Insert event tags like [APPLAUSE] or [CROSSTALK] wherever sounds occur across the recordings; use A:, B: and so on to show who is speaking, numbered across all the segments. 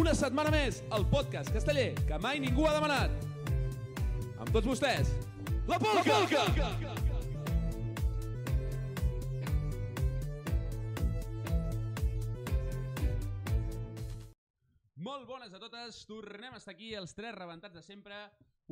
A: Una setmana més, el podcast casteller que mai ningú ha demanat. Amb tots vostès, la Polca! La Polca! Molt bones a totes, tornem a estar aquí els tres rebentats de sempre,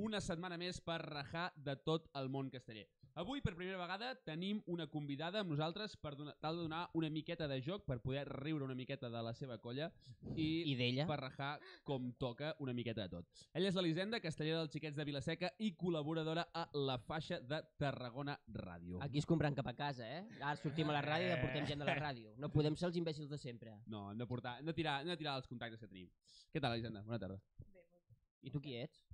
A: una setmana més per rajar de tot el món casteller. Avui, per primera vegada, tenim una convidada amb nosaltres per donar, tal de donar una miqueta de joc, per poder riure una miqueta de la seva colla i,
B: I d'ella?
A: per rajar com toca una miqueta de tot. Ella és l'Elisenda, castellera dels xiquets de Vilaseca i col·laboradora a La Faixa de Tarragona Ràdio.
B: Aquí es compren cap a casa, eh? Ara sortim a la ràdio i deportem gent de la ràdio. No podem ser els imbècils de sempre.
A: No, hem de, portar, hem de, tirar, hem de tirar els contactes que tenim. Què tal, Elisenda? Bona tarda.
B: I tu qui ets?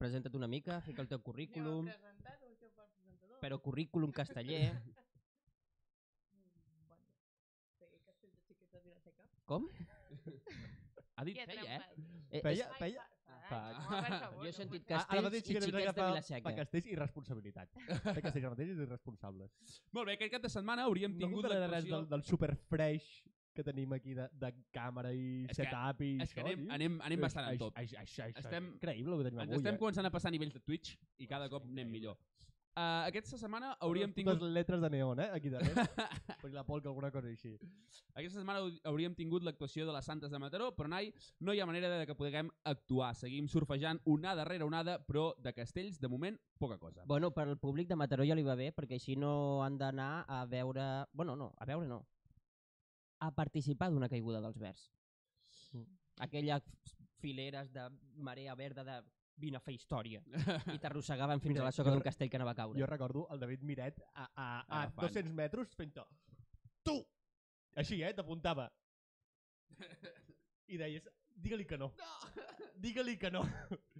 B: Presenta't una mica, fica el teu currículum,
C: presentat o això per presentador?
B: però currículum casteller...
C: Mm, Bueno, sí, castell de xiquets de Vilaseca.
B: Com? Ha dit
C: Què
B: feia,
C: trempa?
B: eh? eh?
D: Feia?
C: Ai,
D: Feia?
C: fa- fa
B: Fa-
C: anys, no, per favor,
B: Jo he
C: no
B: sentit
C: vull-
D: Ah, ara
B: castells i
D: mateix sí que
B: xiquets
D: anem
B: de
D: cap a-
B: Vilaseca.
D: Per castells i responsabilitat. [LAUGHS] Fer castells ara mateix és irresponsable.
A: Molt bé, aquest cap de setmana hauríem
D: No
A: tingut
D: contaré res
A: l'actuació...
D: del, del super fresh que tenim aquí de, de càmera i
A: És que-
D: setup i
A: És que
D: això,
A: anem,
D: tio.
A: anem, anem bastant al
D: Això-
A: top.
D: això- això- això-
A: Estem-
D: Increïble el que tenim
A: Ens
D: avui,
A: estem
D: eh?
A: començant a passar a nivells de Twitch i cada cop anem millor. Uh, aquesta setmana hauríem
D: Totes
A: tingut...
D: les lletres de neon, eh? Aquí
A: [LAUGHS]
D: darrere. Perquè la polca alguna cosa així.
A: Aquesta setmana hau- hauríem tingut l'actuació de les Santes de Mataró, però Nai, no hi ha manera de que puguem actuar. Seguim surfejant una darrere onada, però de castells, de moment, poca cosa.
B: Bueno, per al públic de Mataró ja li va bé, perquè així no han d'anar a veure... Bueno, no, a veure no. A participar d'una caiguda dels verds. Aquelles fileres de marea verda de vine a fer història. I t'arrossegaven fins a la soca d'un castell que anava a caure.
D: Jo recordo el David Miret a, a, a
A: Agafant.
D: 200 metres fent -ho. Tu! Així, eh?
A: [LAUGHS]
D: T'apuntava. I deies, digue-li que no. no. Digue-li que no.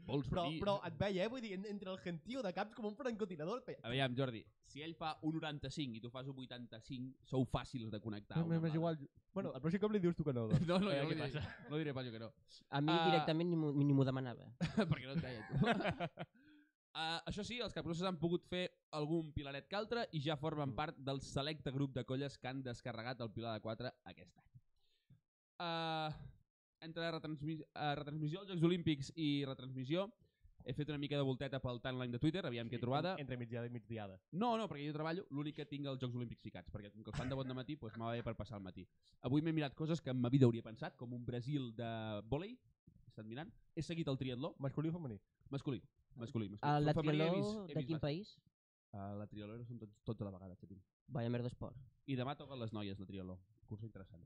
A: Vols
D: Però,
A: venir?
D: però et veia, eh? Vull dir, en- entre el gentío de caps com un francotirador et veia.
A: A veure, Jordi, si ell fa un 95 i tu fas un 85, sou fàcils de connectar.
D: No,
A: una
D: no,
A: amb
D: m'és igual. Bueno, el pròxim cop li dius tu que no, doncs.
A: [LAUGHS] No, no,
D: Eh,
A: jo no,
D: què
A: diré,
D: passa?
A: no diré pas jo que no,
B: A mi
A: Ah.
B: directament ni m'ho- ni m'ho demanava.
A: [LAUGHS] perquè no et deia tu. Uh, això sí, els capgrossos han pogut fer algun pilaret que altre i ja formen
D: Mm.
A: part del selecte grup de colles que han descarregat el Pilar de 4 aquest any. Uh, entre retransmi uh, retransmissió als Jocs Olímpics i retransmissió, he fet una mica de volteta pel timeline de Twitter, aviam què trobada.
D: Entre migdiada i migdiada.
A: No, no, perquè jo treballo, l'únic que tinc els Jocs Olímpics ficats, perquè com que els fan de bon de matí, doncs m'ha bé per passar el matí. Avui m'he mirat coses que en ma vida hauria pensat, com un Brasil de vòlei, he estat mirant, he seguit el triatló,
D: Masculí o femení?
A: masculí, masculí, masculí.
B: El de
A: Femení he
B: trioló
A: vist- he
B: de
A: vist
B: quin
A: bàsquet.
B: país?
A: Eh, la trioló són tots, tots a la vegada, xatín.
B: Vaya merda esport.
A: I demà toquen les noies, la trioló. Curs interessant.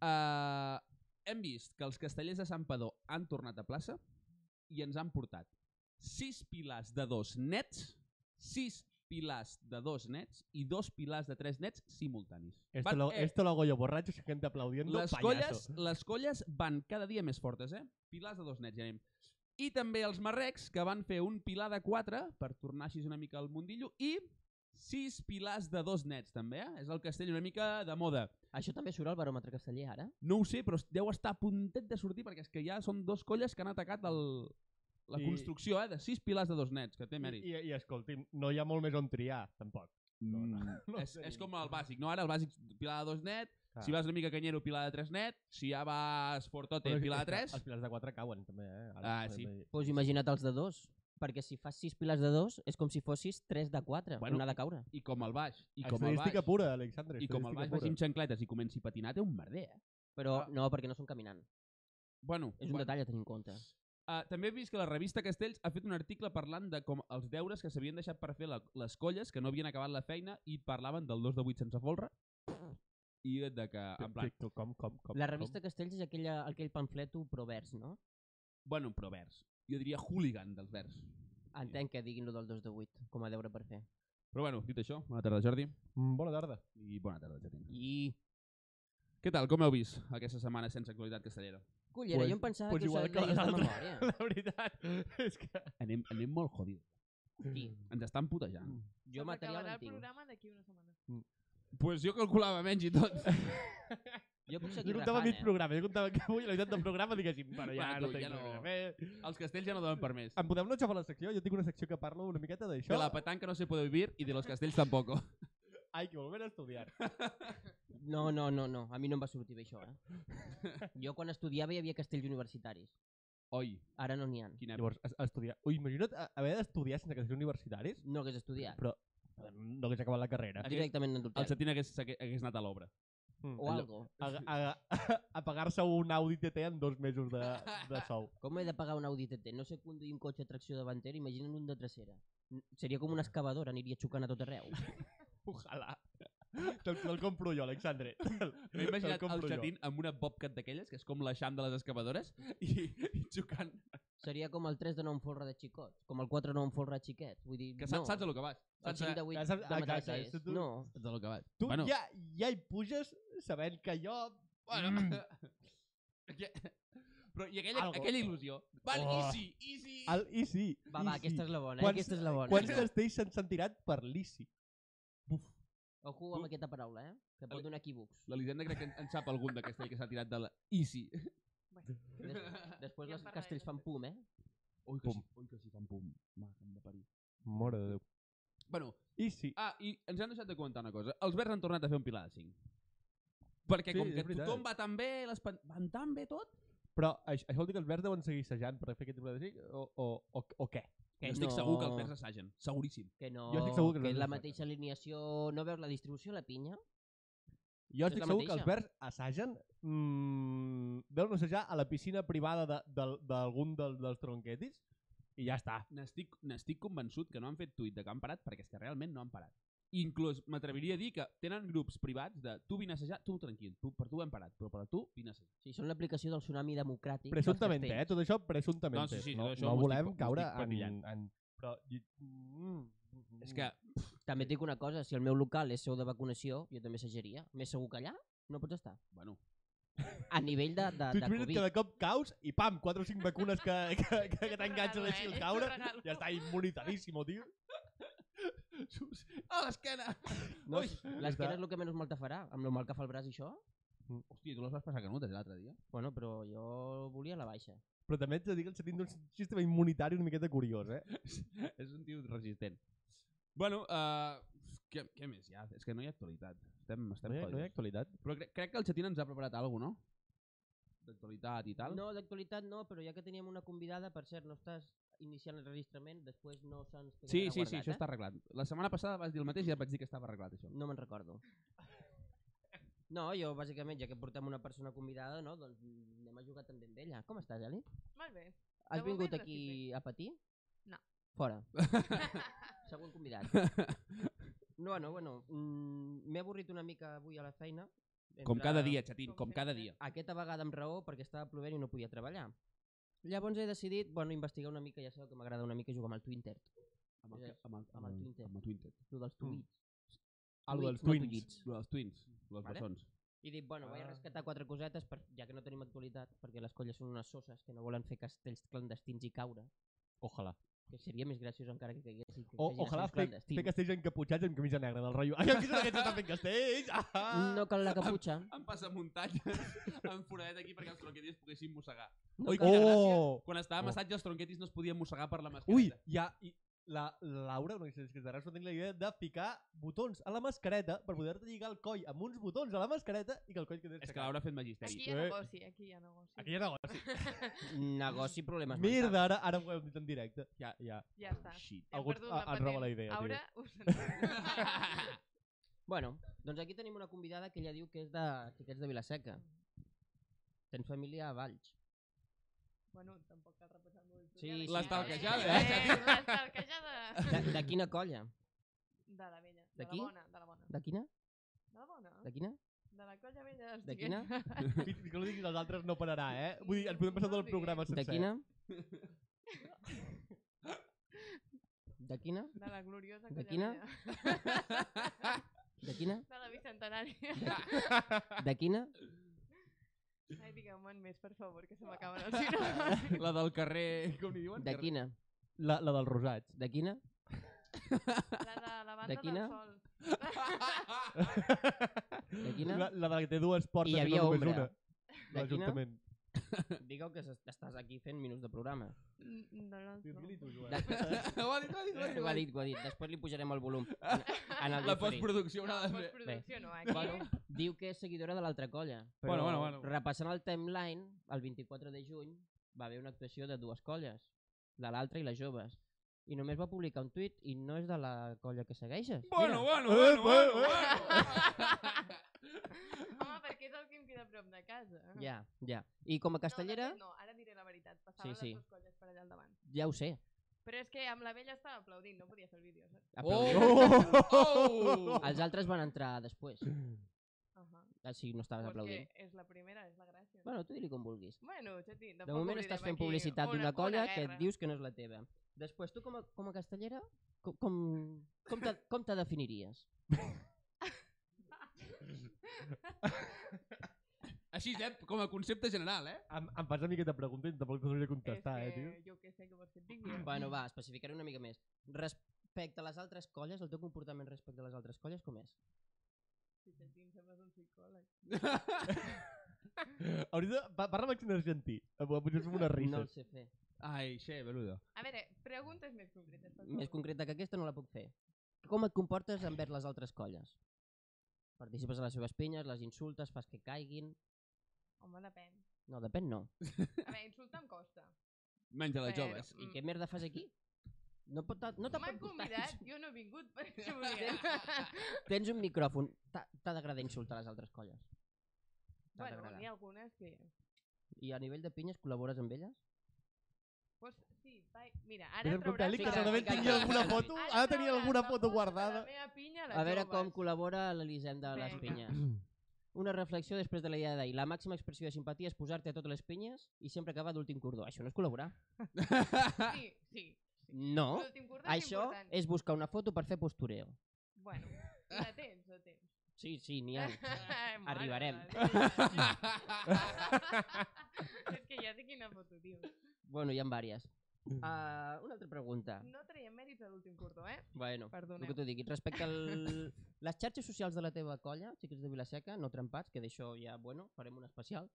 A: Uh, hem vist que els castellers de Sant Padó han tornat a plaça i ens han portat sis pilars de dos nets, sis pilars de dos nets i dos pilars de tres nets simultanis.
D: Esto
A: Van-
D: lo,
A: eh,
D: esto lo hago yo borracho, sin gente aplaudiendo,
A: les, colles,
D: payaso.
A: les colles van cada dia més fortes, eh? Pilars de dos nets, ja anem. I també els marrecs, que van fer un pilar de quatre, per tornar així una mica al mundillo, i sis pilars de dos nets, també, eh? És el castell una mica de moda.
B: Això també surt al baròmetre casteller ara?
A: No ho sé, però deu estar a puntet de sortir, perquè és que ja són dos colles que han atacat el, la
D: I-
A: construcció, eh? De sis pilars de dos nets, que té mèrit.
D: I, i, I escolti'm, no hi ha molt més on triar, tampoc. [LAUGHS] no, no.
A: Mm,
D: No
A: és,
D: sé.
A: és com el bàsic, no? Ara el bàsic, pilar de dos net,
D: Clar.
A: si vas una mica canyero, pilar de tres net, si ja vas fortote,
D: Però és-
A: pilar
D: és
A: de
D: que
A: tres...
D: Els pilars de 4 cauen, també, eh?
A: Ah, sí.
D: també-
B: Doncs pues imagina't els de dos. Perquè si fas sis piles de dos, és com si fossis tres de quatre.
A: Bueno,
B: Bueno, una de caure.
A: i com el baix, i com el baix,
D: Estadística pura, Alexandre.
A: i com el baix
D: estadística
A: vagi
D: pura.
A: amb xancletes i comenci a patinar, té un merder, eh?
B: Però
A: Ah.
B: no, perquè no són caminant.
A: Bueno,
B: És un
A: bueno.
B: detall a tenir en compte.
A: Uh, també he vist que la revista Castells ha fet un article parlant de com els deures que s'havien deixat per fer la, les colles, que no havien acabat la feina, i parlaven del 2 de 8 sense folre, i de que, en plan,
D: Com, com, com, com,
B: La revista Castells és aquella, aquell pamfleto provers, no?
A: bueno, però vers. Jo diria hooligan dels vers.
B: Entenc que diguin lo del 2 de 8, com a deure per fer.
A: Però bueno, dit això, bona tarda, Jordi,
D: Com... Mm, Bona tarda.
A: i bona tarda, Jatín.
B: I...
A: Què tal, com heu vist aquesta setmana sense actualitat castellera?
B: Cullera,
D: Pues-
B: jo em pensava
D: pues
B: que us
D: igual
B: el
D: que
B: deies de
D: l'altre.
B: memòria.
D: La veritat [LAUGHS] és que...
A: Anem, anem molt jodidos.
B: Qui?
A: Ens estan
D: Mm.
A: putejant.
B: Jo
C: Doncs
B: material
C: acabarà
B: en
C: el
B: tinc.
C: programa d'aquí una setmana.
A: Pues jo calculava menys i tot.
B: Jo puc
D: Jo
B: seguir
D: comptava mig
B: rajant, eh?
D: programa, jo comptava que avui la veritat del programa diguéssim, bueno, ja
A: Bueno,
D: no
A: tu,
D: tenim
A: ja no.
D: res a fer.
A: Els castells ja no donen per més.
D: Em podeu no xafar la secció? Jo tinc una secció que parlo una miqueta d'això.
A: De la petanca no se puede vivir y de los castells tampoco.
D: Hay que volver a estudiar.
B: No, no, no, no. A mi no em va sortir bé això, eh? Jo quan estudiava hi havia castells universitaris.
A: [LAUGHS] Oi,
B: Ara no n'hi ha.
A: quina època.
D: Llavors, es- estudiar... Ui, imagina't a- haver d'estudiar sense que siguin universitaris,
B: No hagués estudiat.
D: però eh, no hagués acabat la carrera.
A: Aquí-
B: Directament en
A: El
B: l'hotel.
A: Satín hagués, hagués hagués anat a l'obra.
D: Mm.
B: O
D: Allò-
B: algo.
D: A, a, a, [LAUGHS] a pagar-se un Audi TT en dos mesos de, de sou.
B: Com he de pagar un Audi TT? No sé conduir un cotxe a tracció davantera, imagina'n un de tracera. N- Seria com una excavadora, aniria xocant a tot arreu.
D: Ojalà. Te'l te'l compro jo, Alexandre. Te'l-
A: M'he imaginat
D: te'l
A: el
D: compro jo.
A: Satín amb una bobcat d'aquelles, que és com l'eixam de les excavadores, i, i xocant.
B: Seria com el 3 de 9 folre de xicots, com el 4 de 9 folre de xiquets. Vull dir,
A: Que saps,
B: no.
A: no. saps el que vas.
B: El
A: Saps,
B: 5 de
A: saps
B: 8 ja
D: Ja saps-
B: saps, de
D: exacte,
B: matassers.
D: això tu-
B: No,
A: el que vas.
D: Tu
A: bueno,
D: bueno. ja, ja hi puges sabent que jo...
A: Bueno, que- [LAUGHS] però i aquella,
D: Algo.
A: aquella il·lusió. Val,
D: Oh.
A: easy, easy.
D: El Easy.
B: va, va, aquesta és la bona, eh?
D: Quants-
B: aquesta és la bona.
D: Quants castells s'han sentirat per l'Easy?
B: Ojo amb aquesta paraula, eh? Que pot
A: Ale-
B: donar
A: [LAUGHS]
B: equívocs.
A: L'Elisenda crec que en, en sap algun d'aquesta que s'ha tirat de la easy.
B: [LAUGHS] Des, després
C: Ja en
B: els
C: parlarem
B: castells fan
C: després.
B: pum, eh?
A: Oi que,
D: Pum.
A: sí, oi que sí, fan pum. Va, que hem de parir.
D: Mora de Déu.
A: Bueno,
D: Easy.
A: ah, i ens han deixat de comentar una cosa. Els verds han tornat a fer un pilar de 5. Perquè
D: Sí,
A: sí, com
D: és
A: que
D: veritat.
A: tothom va tan bé, les pan... van tan bé tot,
D: Però això, això vol dir que els verds deuen seguir assajant per fer aquest tipus de cinc? O, o, o, o què?
A: que jo estic
B: No.
A: segur que els verds assagen. Seguríssim.
B: Que no,
D: Jo estic segur que
B: que
D: les
B: és la
D: dues
B: mateixa alineació... No veus la distribució a la pinya?
D: Jo
B: És
D: estic
B: la
D: segur que els
B: mateixa.
D: verds assagen... Mm, deuen assajar a la piscina privada de- del- d'algun de, del, dels tronquetis i ja està.
A: N'estic n'estic convençut que no han fet tuit de que han parat perquè és que realment no han parat. Inclús m'atreviria a dir que tenen grups privats de tu vine a assajar, tu tranquil, tu, per tu hem parat, però per tu vine a assajar.
B: Sí, són l'aplicació del tsunami democràtic. doncs dels
D: Presumptament, eh?
B: castells.
D: Tot això presumptament.
A: No, sí, sí,
D: no,
A: tot això
D: no
A: m'ho
D: volem
A: estic- m'ho
D: caure
A: estic
D: en...
A: patillant.
D: en... Però... i- Mm,
A: És que
B: També et dic una cosa, si el meu local és seu de vacunació, jo també assajaria. Més segur que allà no pots estar.
A: Bueno,
B: A nivell de, de,
D: Tu
B: de
D: et mires
B: Covid.
D: que de cop caus i pam, 4 o 5 vacunes que, que,
B: [LAUGHS]
D: que, que
C: És un
D: t'enganxen
C: regalo, eh?
D: així al
C: És un
D: caure.
C: regalo.
D: Ja està immunitadíssimo, tio.
A: a l'esquena!
D: No,
A: Ui,
D: ja
B: L'esquena
D: està.
B: és el que menys mal te farà, amb el mal que fa el braç i això.
A: Hòstia, tu les vas passar canutes eh, l'altre dia?
B: Bueno, però jo volia la baixa.
D: Però també ets de dir que el Satín té un sistema immunitari una miqueta curiós, eh?
A: és un tio resistent. Bueno, uh, què, què més hi ha? És que no hi ha actualitat. Estem, estem
D: No hi ha, no hi ha
A: jodidos.
D: actualitat.
A: Però crec, crec que el Xatín ens ha preparat alguna cosa, no? D'actualitat i tal.
B: No, d'actualitat no, però ja que teníem una convidada, per cert, no estàs iniciant el registrament, després no se'ns quedarà
A: sí, sí,
B: guardat,
A: sí, això
B: eh?
A: està arreglat. La setmana passada vas dir el mateix i et vaig dir que estava arreglat, això.
B: No me'n recordo. No, jo, bàsicament, ja que portem una persona convidada, no, doncs anem a jugar també amb ella. Com estàs, Eli?
C: Molt bé.
B: Has
C: De
B: vingut
C: moment,
B: aquí a patir?
C: No. [LAUGHS]
B: Fora. Següent convidat. No, bueno, bueno, mm, m'he avorrit una mica avui a la feina.
A: Com
B: entre-
A: cada dia, Xatín,
C: Com
A: com cada
C: sempre.
A: dia.
B: Aquesta vegada amb raó perquè estava plovent i no podia treballar. Llavors he decidit, bueno, investigar una mica, ja sabeu que m'agrada una mica jugar amb el Twitter,
A: Amb el,
B: És-
A: amb el,
B: amb el Twintet.
A: Amb el Twintet.
B: tu dels tuits.
D: Algo dels
B: Tuits, no
D: twins.
B: tuits.
A: Els Twins, els
B: Vale.
A: bessons.
B: I dic, bueno, vaig
D: Ah.
B: a rescatar quatre cosetes, per, ja que no tenim actualitat, perquè les colles són unes soses que no volen fer castells clandestins i caure,
D: Ojalà.
B: que seria més graciós encara que caiguessin que
D: O,
B: fessin
D: ojalà
B: assaig
D: fer,
B: clandestins.
D: fer castells encaputxats amb camisa negra del rotllo. Ai, que aquests estan fent castells! Ah!
B: No cal la caputxa.
A: Em passa [LAUGHS] muntanyes, em foradet aquí perquè els tronquetis poguessin mossegar.
B: No
A: Oi,
B: cal-
A: quina gràcia!
D: Oh!
A: Quan estava
D: Oh.
A: a massatge, els tronquetis no es podien mossegar per la
D: Ui,
A: mascareta.
D: hi ha... I, la Laura, no sé si és que és de Reus, no tinc la idea de ficar botons a la mascareta per poder-te lligar el coll amb uns botons a la mascareta i que el coll
A: És
D: quedés
A: que
D: aixecat.
A: l'Aura ha fet magisteri.
C: Aquí hi ha
D: Eh.
C: negoci, aquí hi ha negoci.
D: Aquí hi ha negoci.
B: Negoci, problemes mentals.
D: Merda, ara, ara ho hem dit en directe. Ja, ja.
C: Ja està.
A: Shit.
C: Hem
D: Alguns-
C: perdut
D: ah,
C: la
D: ens
C: patent.
D: roba la idea, tio.
C: Ara us en-
B: Bueno, doncs aquí tenim una convidada que ella diu que és de xiquets de Vilaseca. Tens família a Valls.
C: Bueno, tampoc cal repassar molt el
B: Sí,
C: tutorial,
B: sí,
C: aquí.
A: L'has talquejada,
B: eh,
A: Xavi?
C: L'has talquejada.
B: De, de quina colla?
C: De la vella. De la
B: D'aquí?
C: bona, de la bona.
B: De quina?
C: De la bona?
B: De quina?
C: De la colla vella dels
B: De
C: xiquets.
D: Fins que no diguis els altres no pararà, eh? Vull dir, ens podem passar tot el programa sencer.
B: De quina?
D: [LAUGHS]
B: De quina?
C: De la gloriosa
B: De
C: colla
B: quina?
C: vella.
B: De quina?
C: De la bicentenària.
B: De quina?
C: Ai, digueu-me en més, per favor, que se m'acaben els
D: [LAUGHS]
C: sinònims.
A: [LAUGHS] La del carrer, com li diuen?
B: De quina?
D: La, la dels rosats.
B: De quina?
C: La de la banda
B: quina?
C: del sol.
B: De quina?
D: La, la de la que té dues portes
B: Hi
D: i,
B: havia
D: no només
B: ombra.
D: una.
B: De quina?
D: L'Ajuntament.
B: Digueu que s'est- estàs aquí fent minuts de programa.
C: Mm, No, no,
D: Digue-li
C: no.
D: tu, Joan.
A: [LAUGHS] ho ha dit, ho ha dit, ho ha dit.
B: Ho ha dit, ho ha dit. Després li pujarem el volum. En el
A: [LAUGHS] La
B: diferit.
A: postproducció
C: No,
A: haurà de fer.
C: postproducció no, aquí.
B: Bueno, diu que és seguidora de l'altra colla. Però
A: Bueno, bueno, bueno.
B: repassant el timeline, el 24 de juny va haver una actuació de dues colles, de l'altra i les joves. I només va publicar un tuit i no és de la colla que segueixes.
A: Bueno, bueno,
D: Eh,
A: bueno,
D: eh,
A: bueno,
D: eh.
A: bueno.
C: Home, perquè és el que em queda a prop de casa.
B: Ja, ja. I com a castellera,
C: No, de fet, no, ara diré la veritat. Passaven
B: sí.
C: les dues colles per allà al davant.
B: ja ho sé.
C: Però és que amb la vella estava aplaudint, no podia fer el vídeo, saps?
B: aplaudim.
A: Oh!
B: Els altres van entrar
A: [LAUGHS]
B: després,
C: Uh -huh.
B: eh, si no estaves aplaudint.
C: Perquè és la primera, és la gràcia. no?
B: Bueno, tu digue'l com vulguis.
C: Bueno, Xati, tampoc
B: De moment
C: obrirem
B: estàs fent
C: aquí
B: publicitat d'una colla que et
C: guerra.
B: dius que no és la teva. Després, tu com a, com a castellera, com, com, com, te, com te definiries?
A: Així, eh? Com a concepte general, eh?
D: Em, em fas una miqueta pregunta i tampoc t'hauria de contestar,
C: és
D: eh,
C: que
D: tio.
C: Jo què sé, que vols que et digui. eh?
B: bueno, va, especificaré una mica més. Respecte a les altres colles, el teu comportament respecte a les altres colles, com és?
C: Si Xati, em sembles un psicòleg.
D: Hauries de... Pa, parla amb accent argentí. Eh, Potser fem unes
B: No el
D: risses.
B: sé fer.
A: Ai, xe, beludo.
C: A veure, preguntes més concretes. per
B: Més
C: favor.
B: concreta que aquesta no la puc fer. Com et comportes envers les altres colles? Participes a les seves pinyes, les insultes, fas que caiguin...
C: Home, depèn.
B: No, depèn, no.
C: A veure, insulta em
B: [LAUGHS]
C: costa.
A: Menja eh? les
C: Però-
A: joves.
B: I
C: Mm.
B: què merda fas aquí? No, pot, no te
C: M'han
B: pot gustar.
C: convidat, jo no he vingut
B: [LAUGHS]
C: per això volia.
B: Tens un micròfon, t'ha t'ha d'agradar insultar les altres colles. T'ha
C: bueno,
B: d'agradar.
C: n'hi ha algunes que...
B: I a nivell de pinyes col·labores amb elles?
C: Pues, sí, vai. Mira, ara
D: Vés a
C: trauràs...
D: preguntar-li que
B: Fica-
D: segurament
B: fica-
D: tingui alguna
B: fica-
D: foto. Ha de tenir
C: trauràs la
D: alguna foto
C: De
D: guardada.
C: la meva pinya, les
B: A veure com
C: joves.
B: col·labora l'Elisenda a les
C: Vinga.
B: pinyes. Una reflexió després de la idea d'ahir. La màxima expressió de simpatia és posar-te a totes les pinyes i sempre acabar d'últim cordó. Això no és col·laborar.
C: Sí, sí.
B: [LAUGHS] No.
C: L'últim curs és
B: Això Eh.
C: important.
B: és buscar una foto per fer postureo.
C: Bueno, la tens, la tens.
B: Sí, sí, n'hi
C: [LAUGHS]
B: ha. [LAUGHS]
C: Mare
B: Arribarem. [LAUGHS]
C: meva, és que ja sé quina foto, tio.
B: Bueno, hi ha vàries.
C: Mm.
B: Uh, una altra pregunta.
C: No traiem mèrits a l'últim cordó, eh?
B: Bueno, el que
C: Perdoneu.
B: t'ho diguis. Respecte a
D: [LAUGHS]
B: les xarxes socials de la teva colla, xiquets de Vilaseca, no trempats, que d'això ja, bueno, farem un especial.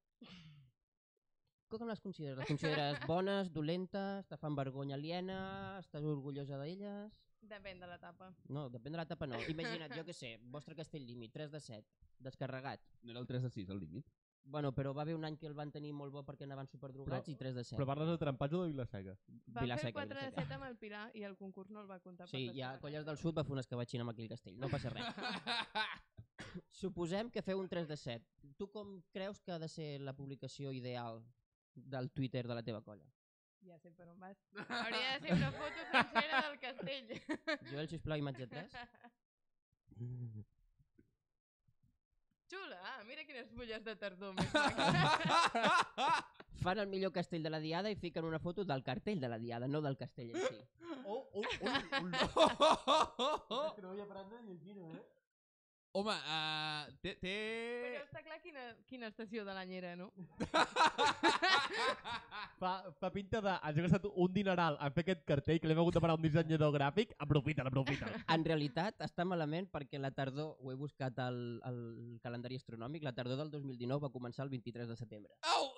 B: Com les consideres? Les
D: [LAUGHS]
B: consideres bones, dolentes, te fan vergonya aliena, estàs orgullosa d'elles?
C: Depèn de l'etapa.
B: No, depèn de l'etapa no. Imagina't, jo què sé, vostre castell límit, 3 de 7, descarregat.
A: No era el 3 de 6, el límit.
B: Bueno, però va haver un any que el van tenir molt bo perquè anaven superdrogats
D: Però-
B: i 3 de 7.
D: Però parles de trempats o de Vilaseca?
C: Va fer el
B: Vilaseca,
C: 4 de
B: Vilaseca.
C: 7 amb el Pilar i el concurs no el va comptar. tota
B: Sí, ja Colles
C: eh?
B: del Sud va fer una escabatxina amb aquell castell, no passa res. Suposem que feu un 3 de 7. Tu com creus que ha de ser la publicació ideal del Twitter de la teva colla?
C: Ja sé per on
B: [LAUGHS]
C: vas. Hauria de ser una foto sencera del castell. [LAUGHS]
B: Joel, sisplau, imatge 3.
C: Xula, ah, mira quines fulles de tardor més
B: [LAUGHS]
C: maques.
B: Fan el millor castell de la Diada i fiquen una foto del cartell de la Diada, no del castell en si.
D: Oh, oh, oh, oh.
A: Home,
D: que no havia parat de llegir-ho, eh?
A: uh, té... té...
C: Però està clar quina, quina estació de l'any era, no?
D: Fa, fa pinta de... Ens ha gastat un dineral en fer aquest cartell que l'hem hagut de parar a un dissenyador gràfic. Aprofita'l, aprofita'l.
B: En realitat, està malament perquè la tardor, ho he buscat al, al calendari astronòmic, la tardor del 2019 va començar el 23 de setembre.
A: Au!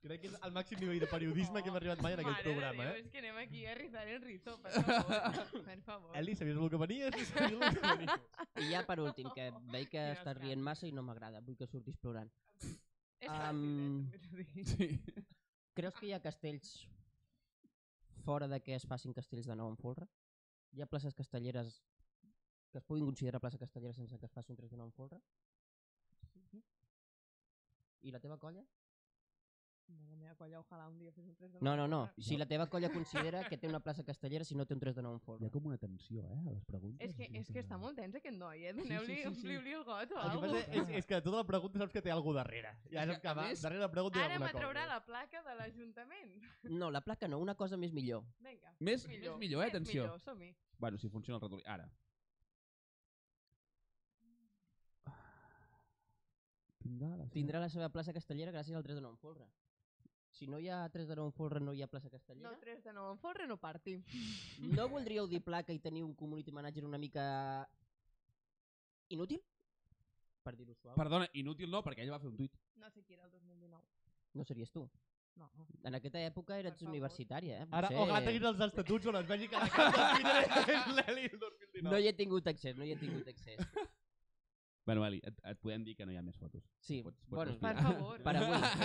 D: Crec que és el màxim nivell de periodisme que hem arribat mai en aquest
C: Mare de
D: programa,
C: Déu,
D: eh?
C: És que anem aquí a rizar el rizo,
B: [LAUGHS]
C: per favor. per favor.
D: Eli, sabies el que venies? Sí, sabies el que venies.
B: I ja per últim, que veig que
C: Quina
B: estàs rient massa i no m'agrada, vull que surtis plorant.
C: És fàcil,
B: Am.
C: eh, també t'ho dic.
A: sí.
B: Creus que hi ha castells fora de que es facin castells de nou en folre? Hi ha places castelleres que es puguin considerar plaça castellera sense que es faci un 3 de nou en folre? I la teva colla?
C: No, la meva colla, ojalà un dia fes un 3 de
B: No, no, no. Si la teva colla considera que té una plaça castellera si no té un 3 de nou en folre.
A: com una tensió, eh, a les preguntes.
C: És que, és que està molt tens aquest noi, eh?
A: sí,
C: Doneu-li, sí,
A: sí,
C: sí,
A: sí.
C: ompliu-li el got o
D: El que
C: alguna
D: passa
C: cosa.
D: és, és que de tota la pregunta saps que té alguna darrere. Ja saps que va,
A: A més,
D: darrere la pregunta hi ha
C: Ara
D: alguna
C: me
D: cosa.
C: traurà la placa de l'Ajuntament.
B: No, la placa no, una cosa més millor.
C: Vinga.
A: Més, millor, més millor, eh,
C: més
A: atenció.
C: Millor, som-hi.
A: Bueno, si funciona el ratolí. Ara. Tindrà la
B: Tindrà la seva plaça castellera gràcies al 3 de nou en folre. Si no hi ha 3 de nou en folre no hi ha plaça castellera?
C: No, 3 de 9 en folre no parti.
B: No voldríeu dir placa i tenir un community manager una mica inútil? per dir-ho suau. Per...
A: Perdona, inútil no, perquè ella va fer un tuit.
C: No sé qui era el 2019.
B: No series tu.
C: No.
B: En aquesta època eres
C: Per favor.
B: universitària, eh?
D: Ara,
B: Potser-
D: o grata'guis els estatuts on es vegi que la
C: [LAUGHS]
D: carta de Twitter és l'Eli el 2019.
B: No hi he tingut accés, no hi he tingut accés.
A: Bueno, Eli, et, et podem dir que no hi ha més fotos.
B: Sí,
A: Pots- pots
B: bueno,
A: respirar.
C: Per favor.
B: Per
C: [LAUGHS]
B: avui.
C: Atenció,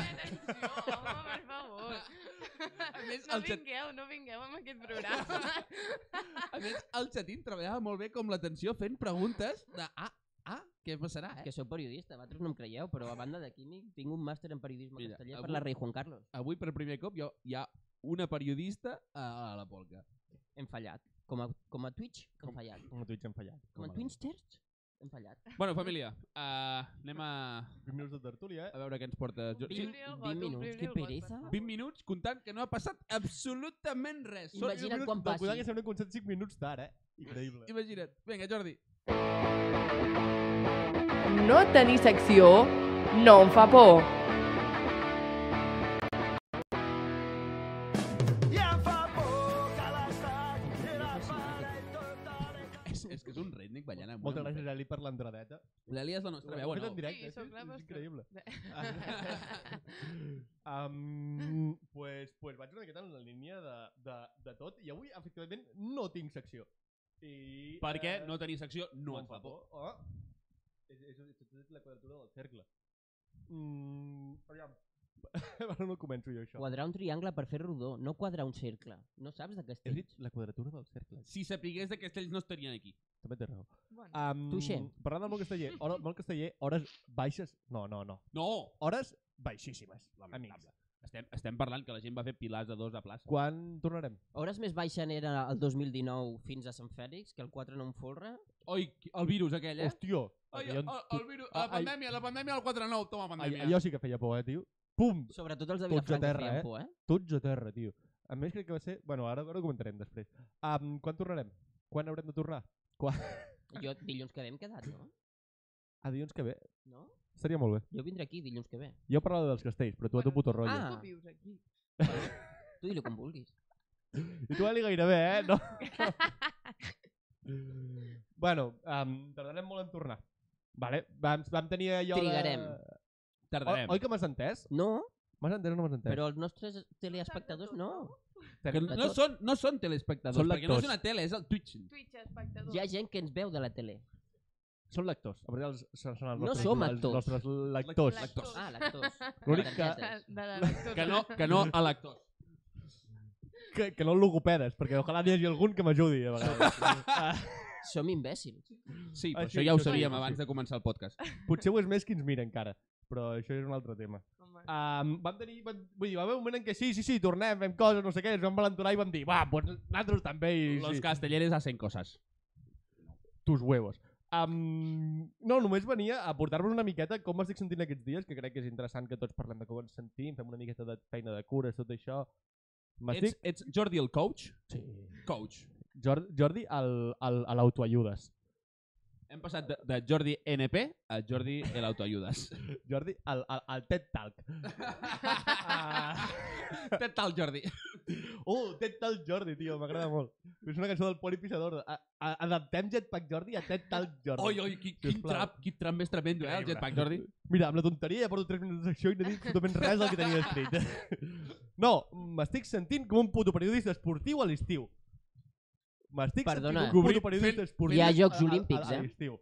C: home, per favor. A
A: més,
C: més, no
A: el xat-
C: vingueu, no vingueu amb aquest programa.
A: A més, el xatín treballava molt bé com l'atenció fent preguntes de ah, ah, què passarà, eh?
B: que sou periodista, vosaltres no em creieu, però a banda de químic tinc un màster en periodisme
A: Mira,
B: Mira, castellà
A: avui-
B: per la rei Juan Carlos.
A: Avui, per primer cop, jo, hi ha una periodista a, a la polca.
B: Hem fallat. Com a, com a Twitch, hem fallat.
D: Com a Twitch hem fallat.
B: Com a Twitchsters, hem fallat.
A: Bueno, família, uh, anem a,
D: 20 minuts de tertúlia, eh?
A: a veure què ens porta... Jo,
B: Vint-
A: sí,
C: Omplint-li el
B: vint
C: got, omplint-li
B: minuts,
C: el
B: que
C: got, per
B: pereza.
C: favor.
A: 20 minuts comptant que no ha passat absolutament res. Són-
B: Imagina't quan passi.
D: Del que sembla un concert 5 minuts d'ara, eh? Increïble.
A: Imagina't. Vinga, Jordi.
C: No tenir secció no em fa por.
A: És, és que és un rítmic ballant amb
D: Moltes
A: una
D: gràcies, Eli, per l'entradeta.
A: L'Eli és la nostra veu, o
D: Ho he fet
A: no?
D: en directe,
C: Sí,
D: sí,
C: sóc la
D: és
C: vostra.
D: increïble.
C: Bé.
D: [LAUGHS] um, pues, pues vaig una miqueta en la línia de, de, de tot i avui, efectivament, no tinc secció. I,
A: Perquè
D: eh,
A: no tenir secció no em fa por.
D: Oh. És, és, és, és, és la quadratura del cercle. Mm, aviam. [LAUGHS] Ara no començo jo, això.
B: Quadrar un triangle per fer rodó, no quadrar un cercle. No saps de
D: He
B: castells?
D: dit la quadratura del cercle.
A: Si sapigués de castells no estarien aquí.
D: També té raó.
C: Bueno,
D: Um,
B: Touché.
D: Parlant del món casteller, hora, món casteller, hores baixes... No, no, no.
A: No!
D: Hores baixíssimes, amics.
A: Lamentable. Estem, estem parlant que la gent va fer pilars de dos a plaça.
D: Quan tornarem?
B: Hores més baixen era el 2019 fins a Sant Fèlix, que el 4 no em folra.
A: Oi, qui- el virus aquell, eh?
D: Hòstia!
A: Ai,
D: allò
A: el,
D: en-
A: el virus,
D: Ah,
A: la
D: ai.
A: pandèmia, la pandèmia del 4-9, toma
D: Ai,
A: pandèmia.
D: allò sí que feia por, eh, tio. Pum!
B: Sobretot els de
D: Tots a
B: Vilafranca
D: terra,
B: feien
D: eh?
B: por, eh?
D: Tots a terra, tio. A més, crec que va ser... Bueno, ara, ara ho comentarem després. Um, quan tornarem? Quan haurem de tornar? Quan?
B: eh? Jo dilluns que ve hem quedat, no?
D: A dilluns que ve.
B: No?
D: Estaria molt bé.
B: Jo vindré aquí dilluns que ve.
D: Jo parlava dels castells, però tu a tu
C: Bueno,
D: puto rotllo.
B: Ah.
C: tu vius aquí.
B: Tu digue'l com vulguis. Ah.
D: I tu, Eli, gairebé, eh?
B: [LAUGHS]
D: No. bueno, um, tardarem molt en tornar. Vale, vam, vam tenir allò
B: Trigarem.
D: de...
A: Tardarem.
D: O, oi que m'has entès?
B: No,
D: M'has entès o no m'has entès?
B: però els nostres teleespectadors no.
A: que
D: Tenim-
A: no, són, no són telespectadors,
D: Són
A: perquè no és
D: lectors.
A: una tele, és el Twitch.
C: Twitch, espectador.
B: Hi ha gent que ens veu de la tele.
D: Són lectors. A veure, els, són, són els
B: No
D: nostres,
B: som
D: els
B: actors.
D: nostres lectors.
C: Lectors.
B: Ah, l'actors.
D: L'únic que,
B: Tantetes.
C: de la lectura.
A: Que no, que no a l'actor.
D: que, que no logopedes, perquè ojalà n'hi hagi algun que m'ajudi a [LAUGHS] vegades.
B: Som imbècils.
A: Sí, però
D: Ah, sí,
A: això ja ho
D: això sí,
A: sabíem
D: això sí.
A: abans de començar el podcast.
D: Potser ho és més qui ens mira encara, però això és un altre tema.
C: Home,
D: Um, vam tenir, vam, vull dir, va haver un moment en què sí, sí, sí, tornem, fem coses, no sé què, ens vam valenturar i vam dir, va, pues nosaltres també. I,
A: Los
D: sí.
A: castelleres hacen cosas.
D: tus huevos. Um, no, només venia a portar-vos una miqueta com m'estic sentint aquests dies, que crec que és interessant que tots parlem de com ens sentim, fem una miqueta de feina de cures, tot això.
A: Ets,
D: M'estic...
A: ets Jordi el coach?
D: Sí.
A: Coach.
D: Jordi, Jordi al, al, a l'autoajudes.
A: Hem passat de, de Jordi NP a Jordi el autoayudes.
D: Jordi al, al, al TED [LAUGHS] Talk. Ah.
A: [LAUGHS] Què tal, Jordi?
D: Oh, TED Talk Jordi, tio, m'agrada molt. És una cançó del Poli Pissador. A, a, adaptem Jetpack Jordi a TED Talk Jordi.
A: Oi, oi, qui, quin
D: Sisplau.
A: trap, quin trap més tremendo, eh, el
D: Increïble.
A: jetpack, Jordi?
D: Mira, amb la tonteria ja porto 3 minuts de secció i no he dit absolutament res del que tenia escrit. [LAUGHS] No, m'estic sentint com un puto periodista esportiu a l'estiu. M'estic sentint
B: Perdona.
D: com un
A: Cobrim-
D: puto periodista
A: eh? fent-
D: esportiu
B: Hi ha Jocs
D: a- a-
B: Olímpics,
D: a, a
B: eh?
D: l'estiu.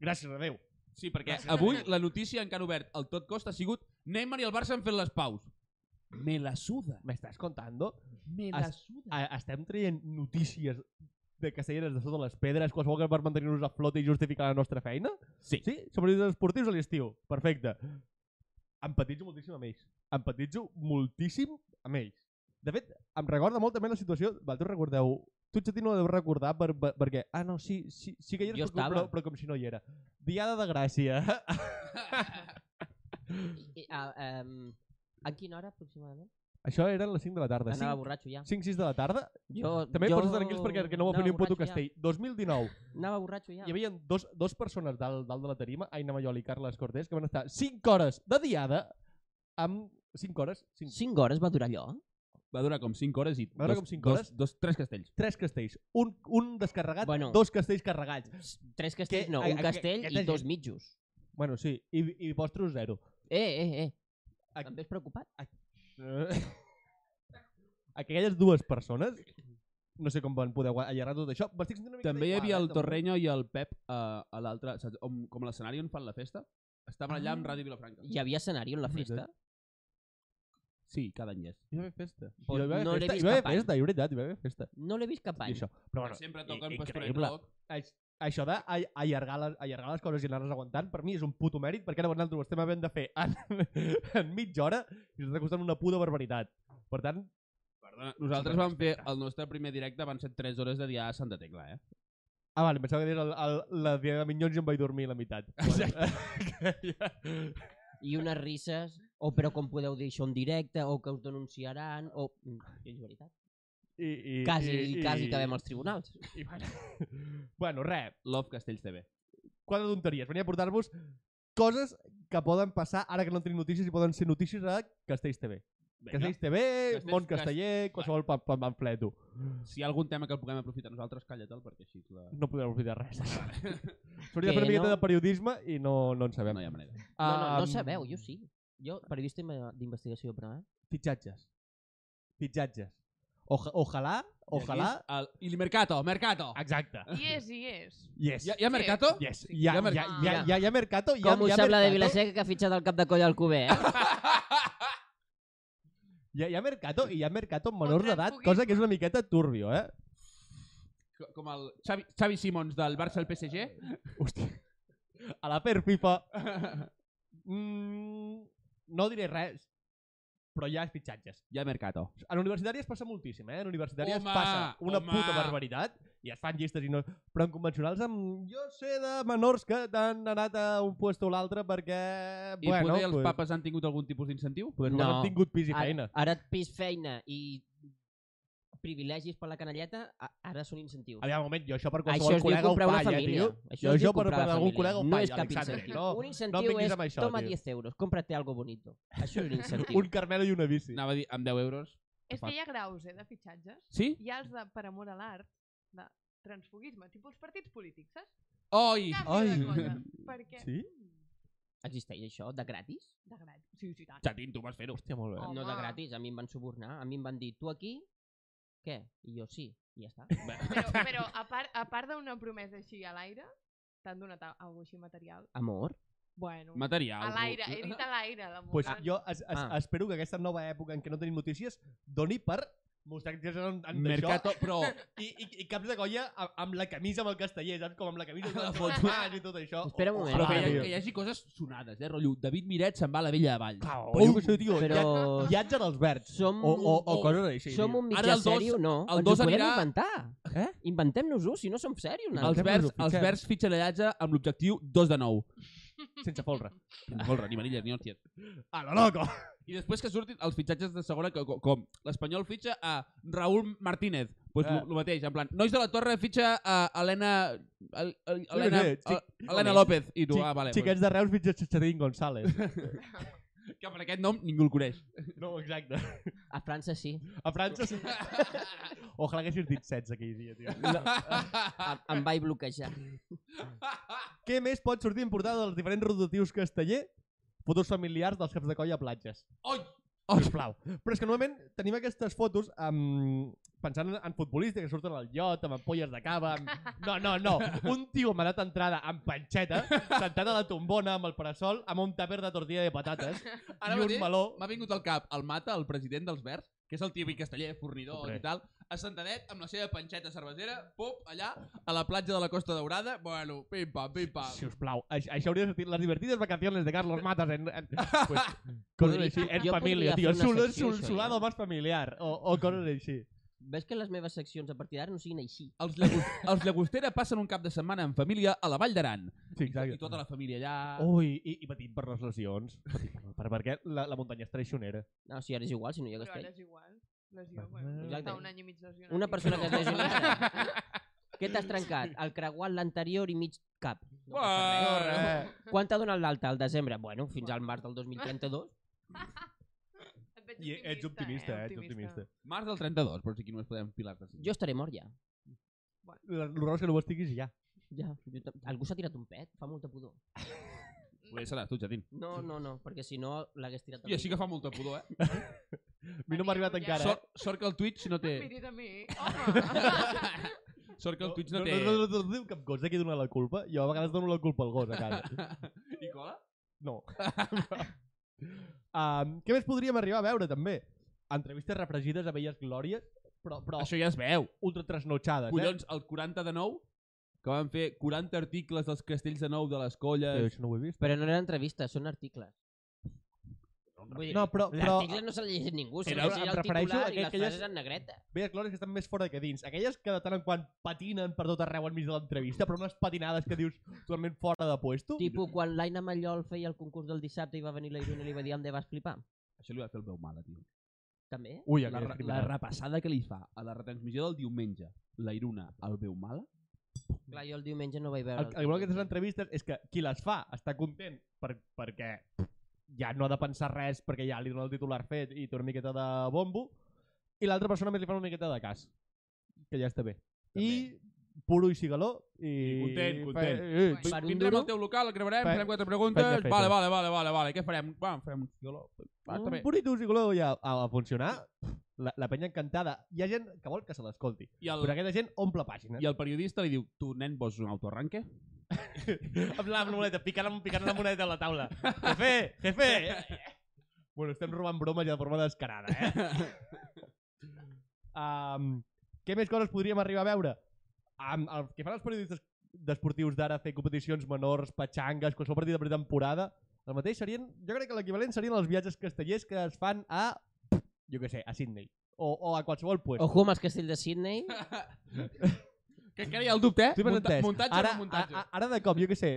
D: Gràcies a Déu.
A: Sí, perquè avui la notícia encara obert al tot costa ha sigut Neymar i el Barça han fet les paus. Me la suda.
D: M'estàs contando?
A: Me
D: la
A: suda.
D: A, estem traient notícies de castelleres de sota les pedres, qualsevol que per mantenir-nos a flote i justificar la nostra feina?
A: Sí.
D: Sí? Som periodistes esportius a l'estiu. Perfecte. Empatitzo moltíssim amb ells. Empatitzo moltíssim amb ells. De fet, em recorda molt també la situació... Vosaltres recordeu... Tu, Xatí, no la deus recordar per, per, perquè... Ah, no, sí, sí, sí que hi
B: Jo
D: eres, però,
B: estava.
D: però, però com si no hi era. Diada de Gràcia. [LAUGHS]
B: I, a, um, a quina hora aproximadament?
D: Això eren les 5 de la tarda.
B: Anava
D: 5,
B: borratxo ja.
D: 5 6 de la tarda.
B: Jo,
D: També
B: jo...
D: pots estar tranquils perquè que no va fer ni un
B: anava
D: puto
B: borratxo
D: castell. 2019.
B: Ja. Anava borratxo ja.
D: Hi havia dos, dos persones dalt, dalt de la tarima, Aina Mayol i Carles Cortés, que van estar 5 hores de diada amb 5 hores, 5,
B: 5 hores va durar allò.
A: Va durar com 5 hores i
D: Va durar
A: dos,
D: com cinc hores?
A: dos, dos, tres castells.
D: 3 castells, un, un descarregat,
B: Bueno.
D: bueno. dos castells carregats.
B: Tres castells,
D: Que-
B: no,
D: a-
B: un
D: a-
B: castell
D: aquesta
B: i
D: gent-
B: dos mitjos.
D: Bueno, sí, i, i vostre zero. [LAUGHS]
B: Eh, eh, eh.
D: Aquí-
B: També és preocupat?
D: Aquelles dues persones, no sé com van poder gua- allargar tot això, m'estic sentint una mica
A: També hi havia el Torreño i el Pep eh, a l'altre, saps? Com, com a l'escenari on fan la festa. Estaven allà amb Ràdio Vilafranca.
B: Hi havia escenari en la
D: És
B: festa?
D: veritat.
A: Sí, cada any és.
D: Hi va haver festa. Hi
B: Pues
D: va haver
B: no l'he
D: festa, hi
B: vist
D: va haver
B: cap any.
D: festa, i veritat, hi va haver festa.
B: No l'he vist cap
D: I
B: any.
D: això. Però bueno,
A: Sempre
D: i-
A: toquen
D: i-
A: Pastoret
D: increïble.
A: Rock.
D: Aix- Això d'allargar les, allargar les coses i anar-les aguantant, per mi és un puto mèrit, perquè ara nosaltres ho estem havent de fer en, [LAUGHS] en mitja hora i ens està costant una puta barbaritat. Per tant,
A: Perdona, nosaltres vam fer el nostre primer directe, van ser 3 hores de dia a Santa Tecla, eh?
D: Ah, vale, em pensava que deies el, el, la dia de minyons i em vaig dormir a la meitat. Exacte.
B: I unes risses, o però com podeu dir això en directe, o que us denunciaran, o... Mm, És veritat.
D: [LAUGHS] I, i,
B: Quasi,
D: i,
B: quasi acabem als tribunals.
D: I, bueno, [LAUGHS] bueno, res,
A: Love Castells TV.
D: quatre tonteries. Venia a portar-vos coses que poden passar ara que no tenim notícies i poden ser notícies a Castells TV. Castells TV,
A: Castells-
D: Mont Casteller, qualsevol pa- pa- pamfleto.
A: Si hi ha algun tema que el puguem aprofitar nosaltres, calla-te'l, perquè així la...
D: No podem oblidar res. [LAUGHS] S'hauria de
B: Que
D: fer una miqueta
B: no?
D: de periodisme i no, no en sabem.
A: No hi ha manera.
B: No, no, no
D: Am,
B: sabeu, jo sí. Jo, periodista inve- d'investigació, però, eh?
D: Fitxatges. Fitxatges. Oja, ojalà, ojalà...
A: I, aquí és el... I el Mercato, Mercato!
D: Oh. Exacte.
C: Hi és, hi és.
D: Yes.
A: Hi ha, hi ha Mercato?
D: Yes,
A: Sí.
D: hi
A: Hi ha
D: ha, hi ha,
A: mercat-
D: hi ha, hi ha, hi ha Mercato, hi ha,
B: Com
D: hi
B: us
D: ha
B: sembla de
D: mercato,
B: Vilaseca que ha fitxat el cap de coll al cuber,
D: [LAUGHS]
B: eh?
D: Hi ha, hi ha Mercato i hi ha Mercato amb menors
C: Contra el
D: d'edat,
C: foguisme.
D: cosa que és una miqueta turbio, eh?
A: Co- Com el Xavi, Xavi Simons del Barça al PSG?
D: Hòstia. A la per [LAUGHS] FIFA. Mm, no diré res, però hi ha fitxatges.
A: Hi ha Mercato.
D: En universitàries passa moltíssim, eh? En universitàries
A: Home,
D: passa una
A: home.
D: puta barbaritat i es fan llistes i no... Però en convencionals, amb... jo sé de menors que han anat a un puesto o l'altre perquè...
A: I bueno, potser els
D: pues,
A: papes han tingut algun tipus d'incentiu?
D: Pues no.
B: No. Ah.
D: han tingut pis i
B: Ara,
D: feina.
B: ara et pis feina i privilegis per la canalleta, a- ara són incentius.
D: Aviam, un moment, jo això per
B: Això
D: qualsevol
B: es diu
D: col·lega ho
B: comprar una
D: falla,
B: família.
D: tio.
B: Això
D: Jo-
B: es diu
D: jo per-
B: comprar
D: per
B: una
D: algun
B: família.
D: col·lega ho
B: No
D: falla,
B: és cap
D: Alexander,
B: incentiu.
D: no-
B: un
D: no
B: incentiu
D: vinguis
B: és
D: amb això,
B: toma
D: tio.
B: 10 euros, cómprate algo bonito. Això és un incentiu.
D: Un Carmelo i una bici.
A: Anava a dir, amb 10 euros.
C: És que hi ha graus, eh, de fitxatges.
A: Sí?
C: Hi ha els de per amor a l'art, de transfugisme, tipus els partits polítics, saps?
A: Oi!
C: Canvi de
D: Ai.
C: cosa, perquè...
D: Sí?
C: Mm,
B: Existeix això, de gratis?
C: De grat. Sí, sí, tant.
A: Xatín, tu vas fer-ho.
D: Hòstia, molt bé.
C: Home.
B: No de gratis, a mi em van subornar, a mi em van dir, tu aquí, què? I jo sí, i ja està.
C: Però, però a part, a part d'una promesa així a l'aire, t'han donat a- alguna cosa així material.
B: Amor?
C: Bueno,
A: Material.
C: a l'aire, he
A: [LAUGHS]
C: dit a l'aire. l'amor.
D: Pues jo es, es,
B: Ah.
D: espero que aquesta nova època en què no tenim notícies doni per mostrar que en, en
A: Mercato, però...
D: això i, i, i caps de colla amb, amb la camisa amb el casteller, saps? Com amb la
A: [LAUGHS]
D: camisa
A: La
D: amb
A: foto.
D: foto i tot això. Oh,
B: Espera un moment.
A: Però que
B: Ah,
A: hi, ha,
B: tio.
A: que hi hagi coses sonades, eh, rotllo. David Miret se'n va a la vella de Valls.
D: Pau,
A: Pum!
D: jo què sé, tio,
B: Però
D: ja- Viatge dels verds.
B: som,
D: O, o, o
A: o-
D: coses així.
B: som un
A: Ara
B: mitjà
A: el dos-
B: sèrio, no?
A: el
B: Ens
A: dos
B: ho podem
A: anirà-
B: inventar.
D: Eh?
B: Inventem-nos-ho, si no som serios.
D: Els
A: Els
B: nosaltres.
D: Fitxem-nos-ho,
A: verds, els
D: fitxem.
A: verds fitxen allà amb l'objectiu 2 de 9.
D: Sense folre.
A: Folre, ni manilles, ni hòsties.
D: A lo loco.
A: I després que surtin els fitxatges de segona, que, co- com l'Espanyol fitxa a Raúl Martínez, doncs
D: Ah.
A: pues el mateix, en plan, Nois de la Torre fitxa a Helena, el, el,
D: Jo què
A: Helena,
D: sé, xic-
A: el- Helena López, i tu,
D: Xic-
A: ah, vale,
D: Xiquets de Reus mitja Xatín González.
A: [LAUGHS] pues, que per aquest nom ningú el coneix.
D: No, exacte.
B: A França sí.
D: A França
A: [LAUGHS]
D: sí. Ojalà haguessis dit 16 aquell dia, tio.
B: Em, em vaig bloquejar.
D: Què més pot sortir en portada dels diferents rotatius casteller? Fotos familiars dels caps de colla a platges.
A: Oi!
D: Oh, sisplau. Però és que normalment tenim aquestes fotos amb... pensant en- en futbolistes que surten al iot, amb ampolles de cava... Amb...
A: [LAUGHS]
D: No, no, no. Un tio amb edat entrada, amb panxeta, sentat a la tombona, amb el parasol, amb un tàper de tortilla de patates
A: Ara
D: i un
A: mateix
D: meló.
A: m'ha vingut al cap el Mata, el president dels verds, que és el tio casteller, fornidor
D: Hombre.
A: i tal, assentadet amb la seva panxeta cervesera, pop, allà, a la platja de la Costa Daurada, bueno, pim-pam, pim-pam.
D: Si us plau, això hauria de sortir les divertides vacaciones de Carlos Matas en,
A: [LAUGHS]
D: en pues, coses
B: Podria-
D: així, en
B: jo
D: família,
B: podria
D: tio,
B: fer una
D: sul,
B: secció,
D: sul,
B: això,
D: solado
B: ja.
D: más familiar, o, o coses així.
B: Ves que les meves seccions a partir d'ara no siguin així.
A: Els, llagus, els Llagostera passen un cap de setmana en família a la Vall d'Aran.
D: Sí, Oh,
A: I tota la família allà...
D: Ui, i, i patint per les lesions. Patint per, per, perquè la, la muntanya és traïcionera.
B: No, si ara és igual, si no hi ha
C: Però ara
B: castell.
C: és igual. Lesió, bueno,
D: Exacte.
C: està un any i mig lesionat.
B: Una persona que es lesiona.
C: lesionat.
D: [LAUGHS]
B: Què t'has trencat? El creuat l'anterior i mig cap. No
A: Tota
B: passa res.
A: Uah,
D: eh.
B: Quan t'ha donat l'alta al desembre? Bueno, fins al març del
D: [LAUGHS]
B: 2032.
D: I [LAUGHS] ets optimista, eh? Ets optimista.
A: Març del 32, però sí que no es podem pilar.
B: Jo estaré mort ja.
D: La- L'horror és que no ho estiguis ja.
B: ja jo ta- Algú s'ha tirat un pet, fa molta pudor.
A: Poder seràs tu, Jatín.
B: No, no, no, perquè si no l'hagués tirat.
A: I així que fa molta pudor, eh?
D: A mi no m'ha arribat
C: Mariano, ja.
D: encara, eh?
A: Sort, sort que el Twitch no té...
C: Miris a mi, home.
A: Sort que el Twitch no té...
D: No, no, no, no, no diu cap gos de qui dona la culpa. Jo a vegades dono la culpa al gos, a casa.
A: [LAUGHS] Nicola?
D: No. um, què més podríem arribar a veure, també? Entrevistes refregides a velles glòries, però, però
A: Això ja es veu.
D: ultra trasnotxades, eh?
A: Collons, el 40 de nou, que van fer 40 articles dels castells de nou de les
D: Eh,
A: colles...
D: això no ho he vist.
B: Però no eren entrevistes, són articles. Vull dir,
D: No, però, però
B: L'article no se l'ha llegit ningú, se l'ha
D: Però
B: llegit
D: em
B: el
D: refereixo
B: titular
D: a
B: i les
D: aquelles-
B: frases en negreta.
D: velles glòries que estan més fora que dins. Aquelles que de tant en quant patinen per tot arreu enmig de l'entrevista, però unes patinades que dius totalment fora de puesto.
B: Tipo, quan l'Aina Mallol feia el concurs del dissabte i va venir la Irene i li va dir on vas flipar.
A: Això li va fer el veu mala, tio.
B: També?
D: Ui,
A: La,
D: aquella
A: re- la repassada que li fa a la retransmissió del diumenge, la Iruna el veu mala,
B: Clar, jo el diumenge no vaig veure...
D: El, el bo d'aquestes entrevistes és que qui les fa està content per, perquè ja no ha de pensar res perquè ja li dona el titular fet i té una miqueta de bombo i l'altra persona més li fa una miqueta de cas que ja està bé i puro i cigaló i,
A: I content, content.
D: Fe... Eh,
B: Per un
A: Tindrem
B: duro?
A: el teu local, el gravarem,
D: Fe-
A: farem quatre preguntes...
D: fet, ja fet,
A: vale,
D: eh?
A: vale, vale, vale, vale, què farem? Va, farem un cigaló. Va, està
D: un
A: bé.
D: burrito i cigaló ja a, a funcionar la, la penya encantada hi ha gent que vol que se l'escolti
A: I el,
D: però aquesta gent omple pàgines
A: I el periodista li diu, tu, nen, vols un autoarranque?
D: [LAUGHS] amb la moneta, picant, amb- picant la moneta a la taula. Jefe, jefe! bueno, estem robant bromes ja de forma descarada, eh? um, què més coses podríem arribar a veure? Um, el que fan els periodistes d'esportius d'ara, fer competicions menors, petxangues, qualsevol partit de pretemporada, el mateix serien, jo crec que l'equivalent serien els viatges castellers que es fan a, jo què sé, a Sydney. O, o a qualsevol puesto.
B: Ojo amb el castell de Sydney. Ah,
A: Que encara hi ha el dubte, eh?
D: Tu m'has entès.
A: muntatge
D: ara,
A: o no muntatge?
D: A, a, ara de cop, jo què sé,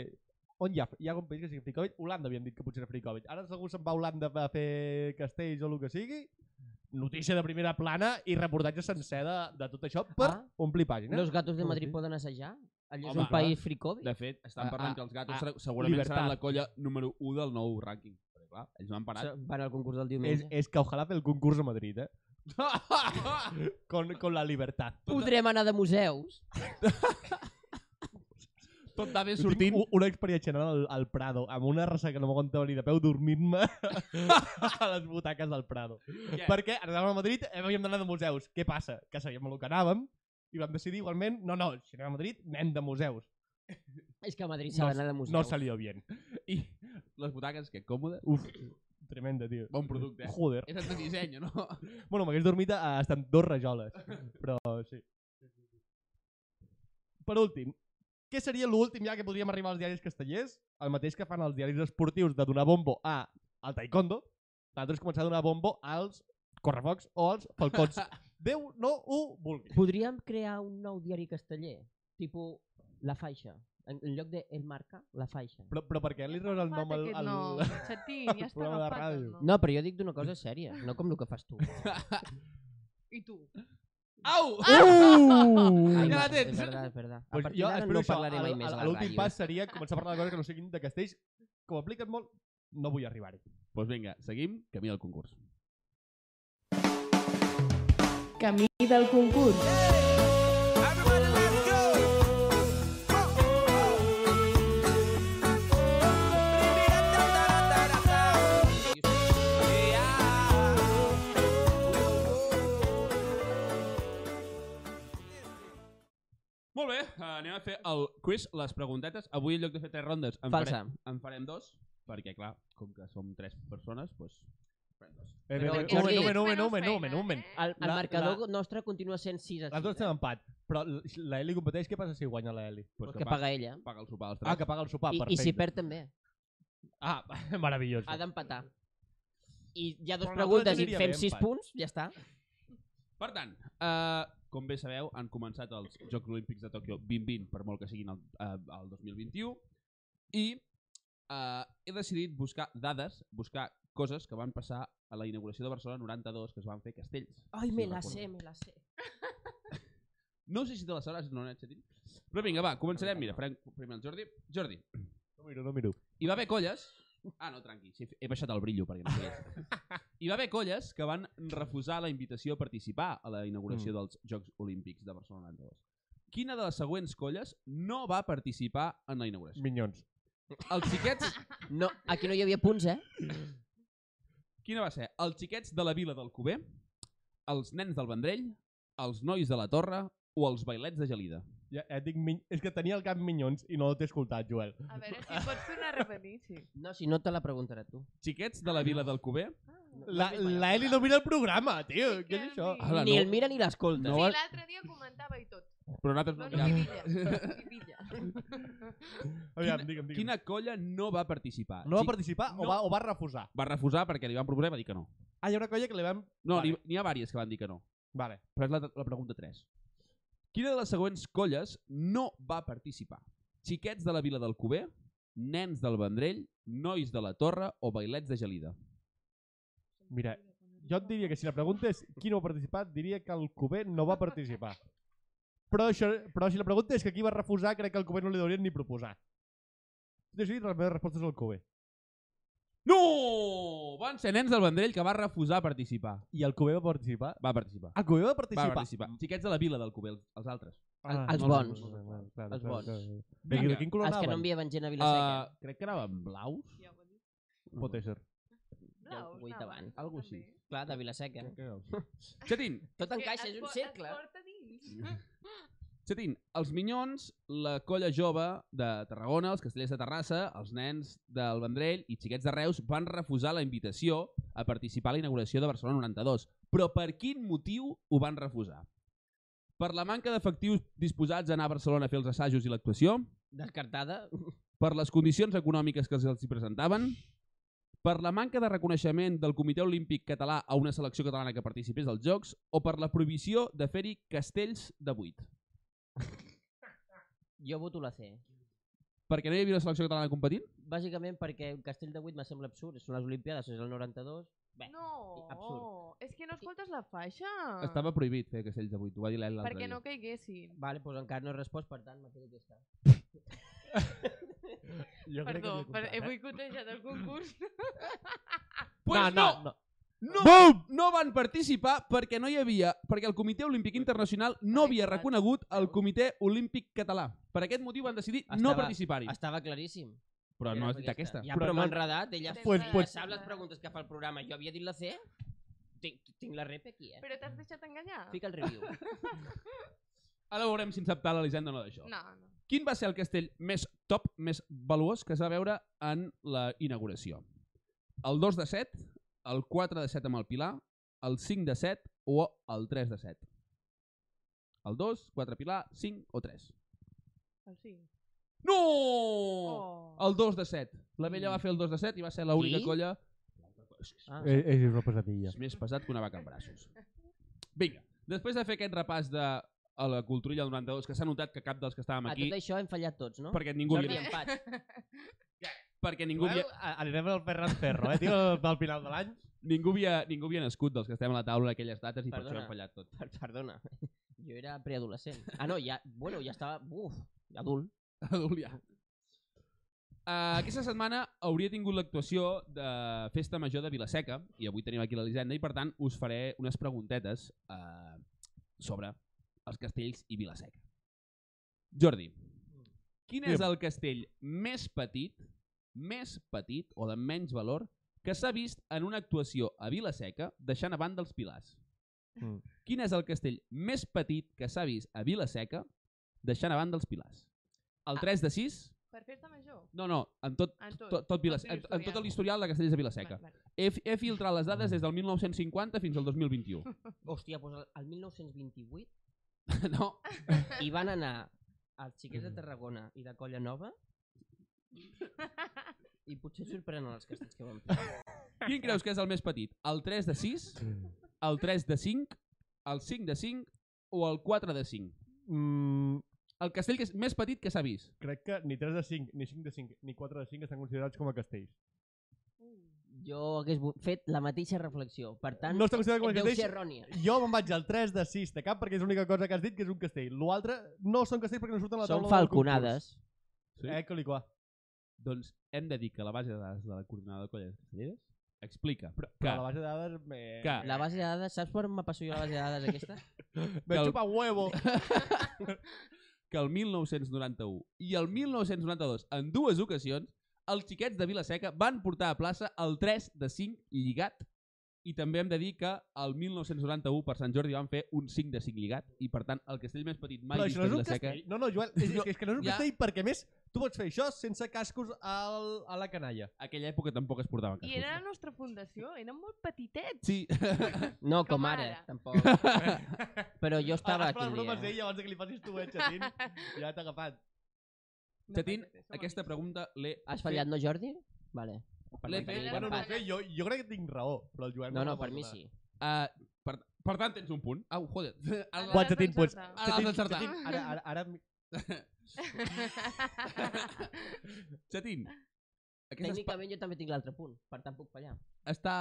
D: on hi ha, hi ha algun país que sigui Fricovic? Holanda havien dit que potser era Fricovic. Ara segur se'n va a Holanda a fer castells o el que sigui. Notícia de primera plana i reportatge sencer de, de tot això per
B: Ah.
D: omplir pàgines.
B: Los gatos de
D: Com
B: Madrid
D: es diu?
B: poden assajar? Allò és
A: Home,
B: un país fricòbic?
A: De fet, estan
D: A-
A: parlant
D: a-
A: que els gatos
D: a-
A: serà- segurament seran
D: Libertad.
A: la colla número 1 del nou rànquing. Perquè, clar, ells no han parat.
B: Van al concurs del
D: És,
B: diumenge.
D: és que ojalà fer el concurs a Madrid, eh? Con, con la libertat.
B: Podrem anar de museus.
A: [LAUGHS] Tot va bé
D: Jo tinc
A: sortint.
D: u- una experiència anant al, al Prado, amb una ressaca que no m'aguantava ni de peu, dormint-me [LAUGHS] a les butaques del Prado.
A: Què?
D: [LAUGHS] Perquè anàvem a Madrid, eh, havíem d'anar de museus. Què passa? Que sabíem el que anàvem i vam decidir igualment, no, no, si anem a Madrid, anem de museus.
B: És que a Madrid s'ha
D: No-
B: d'anar de museus.
D: No salió bien.
A: I les butaques, que [LAUGHS] còmodes.
D: Uf, tremenda, tio.
A: Bon producte, eh?
D: Joder.
A: És de disseny, [LAUGHS] no?
D: Bueno, m'hagués dormit a, hasta amb dos
A: [LAUGHS]
D: rajoles, però sí. Per últim, què seria l'últim ja que podríem arribar als diaris castellers? El mateix que fan els diaris esportius de donar bombo a al taekwondo, nosaltres començar a donar bombo als correfocs o als
A: [LAUGHS]
D: falcons. Déu no ho vulgui.
B: Podríem crear un nou diari casteller, tipus La Faixa. En, en lloc de El Marca, La Faixa.
D: Però, però per què [LAUGHS] li treus el nom al...
C: Aquest
D: al... [LAUGHS]
C: nom. Xatín, ja està
D: programa de
C: agafat el
D: ràdio.
C: nom.
B: No, però jo dic d'una cosa sèria, no com el que fas tu.
C: I tu?
A: Au!
D: Uh!
B: Ai,
A: Ja la
B: no, és
A: tens.
B: verdad, és verdad. A
D: Pues
B: partir
D: jo
B: d'ara
D: espero
B: no
D: això.
B: parlaré mai
D: Al-
B: més
D: al-
B: a la
D: L'últim
B: ràdio.
D: pas seria començar a parlar de coses que no siguin de castells. Com apliquen molt, no vull arribar-hi.
A: Doncs vinga, seguim, camí del concurs.
C: Camí del concurs.
A: Molt bé, eh, anem a fer el quiz, les preguntetes. Avui, en lloc de fer tres rondes, en,
B: Falsa.
A: farem, en farem dos, perquè, clar, com que som tres persones, doncs... farem dos.
D: Eh,
B: Però
D: bé,
B: aquest
D: bé, un moment,
B: sí.
D: un moment, un moment,
C: Menys
D: un moment, un moment,
C: feina,
D: un moment.
C: eh?
B: El, el
D: La-
B: marcador
D: la-
B: nostres continua sent 6 a 6.
D: Les dues estem empat, però l- la Eli competeix, què passa si guanya la Eli?
A: Pues
B: que paga ella.
A: Paga el sopar als tres.
D: Ah, que paga el sopar,
B: I, I
D: perfecte.
B: si perd també.
D: Ah, [LAUGHS] meravellós.
B: Ha d'empatar. I hi ha dues
D: Però
B: preguntes
D: nosaltres
B: i
D: aniria
B: fem
D: bé,
B: 6
D: empat.
B: punts, ja està.
A: Per tant, eh, com bé sabeu, han començat els Jocs Olímpics de Tòquio 2020, per molt que siguin el, eh, el 2021, i eh, he decidit buscar dades, buscar coses que van passar a la inauguració de Barcelona 92, que es van fer castells.
B: Ai,
A: si
B: me
A: no
B: la
A: recordo.
B: sé, me la sé.
A: No sé si te la sabràs, no, Nacho, Tin? Però vinga, va, començarem. Mira, farem primer el Jordi. Jordi,
D: No miro, no miro.
A: hi va haver colles... Ah, no, tranqui, sí, he baixat el brillo perquè no sé [LAUGHS] Hi va haver colles que van refusar la invitació a participar a la inauguració
D: Mm.
A: mm. dels Jocs Olímpics de Barcelona 92. Quina de les següents colles no va participar en la inauguració?
D: Minyons.
A: Els xiquets...
B: No, aquí no hi havia punts, eh?
A: Quina va ser? Els xiquets de la vila del Cuber, els nens del Vendrell, els nois de la Torre o els bailets de Gelida.
D: Ja, ja et dic, min... és que tenia el cap minyons i no t'he escoltat, Joel.
C: A veure si pots tornar a repetir,
D: [LAUGHS]
C: sí.
B: No, si no te la preguntaré tu.
A: Xiquets de la vila del Cuber,
D: La, la Eli no mira el programa, tio.
C: Sí,
D: Què és
C: que
D: això?
C: mi-
A: Hola,
B: ni
A: no-
B: el mira ni l'escolta.
A: No
C: Sí,
A: vol-
C: l'altre dia comentava i tot.
A: però nosaltres
C: No,
A: no,
C: no,
A: ja,
C: pivilla. Pivilla.
D: Aviam, digue'm, digue'm.
A: Quina colla no va participar?
D: No va
A: Xic-
D: participar
A: no.
D: o, va, o va refusar?
A: va refusar perquè li van proposar i va dir que no.
D: Ah, hi ha una colla que li vam...
A: No,
D: Vale.
A: n'hi n'hi ha vàries que van dir que no.
D: Vale.
A: Però és la, la pregunta 3. Quina de les següents colles no va participar? Xiquets de la Vila del Cuber, nens del Vendrell, nois de la Torre o bailets de Gelida?
D: Mira, Jo et diria que si la pregunta és qui no va participar, et diria que el Cuber no va participar. Però, això, però si la pregunta és que qui va refusar, crec que el Cuber no li deurien ni proposar. Tot i així, la meva resposta és el Cuber.
A: No! Van ser nens del Vendrell que va refusar participar.
D: I el Cuber va participar?
A: Va participar.
D: El Cuber va
A: Va
D: participar?
A: participar. Xiquets de la Vila del Cuber, els- els altres.
D: Ah,
B: Els
D: no, no,
B: bons.
D: no, no, no, no, clar,
B: Els
D: clar,
B: bons.
D: clar, clar. De,
A: Vinga,
D: de quin color
B: Els que no
D: anaven?
B: enviaven gent a Vilaseca.
A: Uh, crec que anaven blaus.
C: Ja ho he dit.
A: no.
D: Pot ser.
B: Ja ho he dit
C: Blaus,
B: abans.
C: no,
A: Algo així.
C: també.
B: Clar, de Vilaseca. [LAUGHS]
A: Xatín,
B: Tot
C: Que
B: encaixa,
C: et
B: és
C: po-
B: un cercle.
C: Et porta dins.
A: Xatín, els Minyons, la colla jove de Tarragona, els castellers de Terrassa, els nens del Vendrell i xiquets de Reus van refusar la invitació a participar a la inauguració de Barcelona 92. Però per quin motiu ho van refusar? Per la manca d'efectius disposats a anar a Barcelona a fer els assajos i l'actuació?
B: Descartada.
A: Per les condicions econòmiques que els hi presentaven? Per la manca de reconeixement del Comitè Olímpic Català a una selecció catalana que participés als Jocs? O per la prohibició de fer-hi castells de buit?
B: Jo voto la C.
A: perquè no hi havia una selecció catalana competint?
B: Bàsicament perquè un castell de 8 me sembla absurd. Són les Olimpiades, és el 92. Bé,
C: No,
B: absurd.
C: és que no escoltes la faixa.
A: Ah. Estava prohibit fer castells de 8, ho va dir l'El l'altre
C: Perquè no
A: dia.
C: caiguessin.
B: Vale, doncs encara no he respost, per tant, m'ha que està.
D: Jo
C: Perdó, per, eh,
B: eh?
C: he boicotejat el concurs.
B: [LAUGHS]
A: Pues no,
D: no.
A: no, no,
D: Bum!
A: no van participar perquè no hi havia, perquè el Comitè Olímpic Internacional no havia
C: Exacte.
A: reconegut el Comitè Olímpic Català. Per aquest motiu van decidir Estava... no
B: Estava-
A: participar-hi.
B: Estava claríssim.
A: Però
B: Era
A: no has dit Doncs aquesta.
B: Ja,
A: Però
B: però, m'ha
A: no-
B: enredat, ella
C: Tens
D: Pues-
C: la-
D: pues-
B: sap les preguntes que fa el programa. Jo havia dit la C, tinc, tinc la rep aquí, eh?
C: Però t'has deixat enganyar?
B: Fica el
A: [LAUGHS]
B: review.
A: Ara veurem si ens sap tal l'Elisenda o no d'això.
C: No, no.
A: Quin va ser el castell més top, més valuós que es va veure en la inauguració? El 2 de 7, el 4 de 7 amb el Pilar, el 5 de 7 o el 3 de 7? El 2, 4 Pilar, 5 o 3?
C: El sí.
A: No!
C: Oh.
A: El 2 de 7. La vella
B: Mm.
A: va fer el 2 de 7 i va ser l'única
B: Qui?
A: colla...
B: Ah,
D: Eh, eh, és una pesadilla.
A: És més pesat que una vaca amb braços. Vinga, després de fer aquest repàs de a la culturilla del 92, que s'ha notat que cap dels que estàvem
B: a
A: aquí,
B: Ah, tot això hem fallat tots, no?
A: perquè ningú
B: Jordi
A: havia,
B: empat.
A: perquè ningú havia,
D: Igual, a- anirem al Ferran Ferro, eh, tio, al final de l'any.
A: ningú havia, ningú havia nascut dels que estem a la taula en aquelles dates i per
B: Perdona.
A: això hem fallat tot.
B: Per- Perdona, [LAUGHS] jo era preadolescent. Ah, no, ja, bueno, ja estava, uf, adult.
A: [LAUGHS] Adolià. Uh, aquesta setmana hauria tingut l'actuació de Festa Major de Vilaseca i avui tenim aquí l'Elisenda i per tant us faré unes preguntetes uh, sobre els castells i Vilaseca. Jordi, quin és
D: Digue'm.
A: el castell més petit, més petit o de menys valor que s'ha vist en una actuació a Vilaseca deixant a banda els pilars?
D: Mm.
A: Quin és el castell més petit que s'ha vist a Vilaseca deixant a banda els pilars? El
C: Ah.
A: 3 de 6?
C: Per festa major?
A: No, no, amb tot,
C: En tot.
A: tot, tot, Vilas,
C: tot
A: en, en tot
C: l'historial.
A: l'historial de Castells de Vilaseca.
C: Vale, vale.
A: He, fi- he filtrat les dades des del 1950 fins al
C: [LAUGHS]
A: 2021.
B: Hòstia, doncs el- el 1928
A: No,
B: hi van anar els xiquets de Tarragona i de Colla Nova i potser sorprenen els castells que van fer.
A: quin creus que és el més petit? El 3 de 6, el 3 de 5, el 5 de 5 o el 4 de 5?
D: Mm,
A: El castell que és més petit que s'ha vist.
D: crec que ni 3 de 5, ni 5 de 5, ni 4 de 5 estan considerats com a castells.
C: Uh.
B: Jo hagués vo- fet la mateixa reflexió. Per tant,
D: No està considerat com a
B: Ah, deu ser
D: castells.
B: errònia.
D: Jo me'n vaig al 3 de 6 de cap perquè és l'única cosa que has dit que és un castell. L'altre no són castells perquè no surten a la
B: Són
D: taula
B: falconades.
D: Sí. Eh, coliquà.
A: Doncs hem de dir que la base de dades de la coordinada de colles castelleres explica
D: Però,
A: que,
D: però la base de dades... Me...
A: que
B: La base de dades, saps per on me passo jo la base de dades aquesta?
D: Me
A: que el-
D: chupa huevo.
A: que el 1991 i el 1992, en dues ocasions, els xiquets de Vilaseca van portar a plaça el 3 de 5 lligat i també hem de dir que el 1991 per Sant Jordi van fer un 5 de 5 lligat i per tant el castell més petit mai
D: Però
A: vist
D: això no
A: a
D: és un
A: Vilaseca
D: castell. No, no, Joel, és, és, que- és que no és un
A: Ja.
D: castell perquè, a més, tu pots fer això sense cascos al, a la canalla.
A: aquella època tampoc es portaven
C: I
A: cascos.
C: era la nostra fundació, eren molt petitets.
A: Sí,
B: No,
C: Com
B: com ara,
C: ara.
B: tampoc. Però jo estava
D: Has
B: aquell
A: eh.
D: parlat bromes
B: dia.
D: d'ell abans que li facis tu, eh,
B: [LAUGHS]
D: Chatín? ja t'ha agafat.
A: Chatín,
C: passa res, som
A: [LAUGHS] aquesta
C: amics.
A: pregunta l'he
B: Has fallat, no, Jordi? Vale.
A: L'he
B: Per
A: fet,
B: mi
D: Bueno, no ho
B: tampoc.
D: sé, jo, jo crec que tinc raó, però el Joel...
B: No,
D: me
B: no,
D: la
B: per
D: pot
B: mi
D: donar.
B: sí.
A: Uh, per, per tant, tens un punt. Au, joder. [LAUGHS]
C: Ara
A: Ara-
D: Quan
C: l'has
D: se t'in pots-
C: d'encertar.
A: Ara l'has
D: Chatín,
A: d'encertar.
D: Chatín, Ara, ara, ara... mi-
A: Chatín, aquesta espa-
B: Tècnicament jo també tinc l'altre punt, per tant puc fallar.
A: està,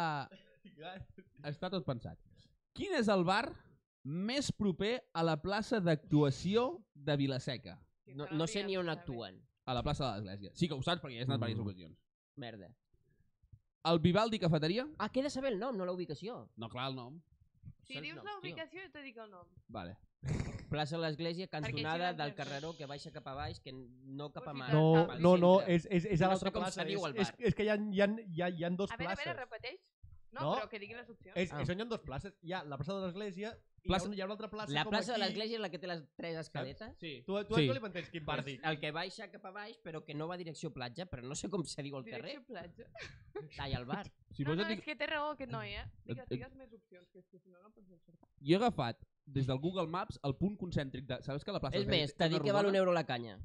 A: està tot pensat. Quin és el bar més proper a la plaça d'actuació de Vilaseca?
B: No, no sé ni on actuen.
A: A la plaça de l'Església. Sí que ho saps perquè hi has anat
D: Mm.
A: mm. diverses ocasions.
B: Merda.
A: El Vivaldi Cafeteria?
B: Ah, que he de saber el nom, no la ubicació.
A: No, clar, el nom.
C: Si dius la ubicació, jo te dic el nom.
A: Vale.
B: Plaça de l'Església, cantonada
C: Perquè si
B: del
C: l'entres-
B: carreró que baixa cap a baix, que no cap a
C: Vols dir
B: mar.
D: No,
C: Al
D: no, no,
B: centre.
D: és, és, és
B: No sé
D: a l'altra
B: com
D: plaça.
B: se diu el
D: és- És,
B: bar.
D: és, que hi ha, hi ha, hi ha, hi ha dos
C: A veure, a veure,
D: places.
C: repeteix. No,
D: No.
C: però que diguin les opcions.
D: És,
B: Ah.
D: ah. Són hi ha dos places. Hi ha la plaça de l'església i
A: Plaça-
D: plaça... hi ha una altra plaça
B: La
D: com
B: plaça de
D: aquí.
B: l'església és la que té les tres escaletes.
A: Sí.
D: Tu, tu,
A: Sí.
D: sí. tu li mantens quin bar dic.
B: El que baixa cap a baix, però que no va direcció platja, però no sé com se diu el carrer.
C: Direcció platja.
B: Ai, el bar.
A: Si
C: no,
A: vols
C: no,
A: et dic...
C: és que té raó aquest noi, eh? Digues,
A: et-
C: digues més opcions, que és que si no, no pots encertar.
A: Jo he agafat des del Google Maps el punt concèntric de... Sabes que la plaça
B: És més,
A: té
B: t'ha
A: una
B: dit que val
A: rodona?
B: un euro la canya.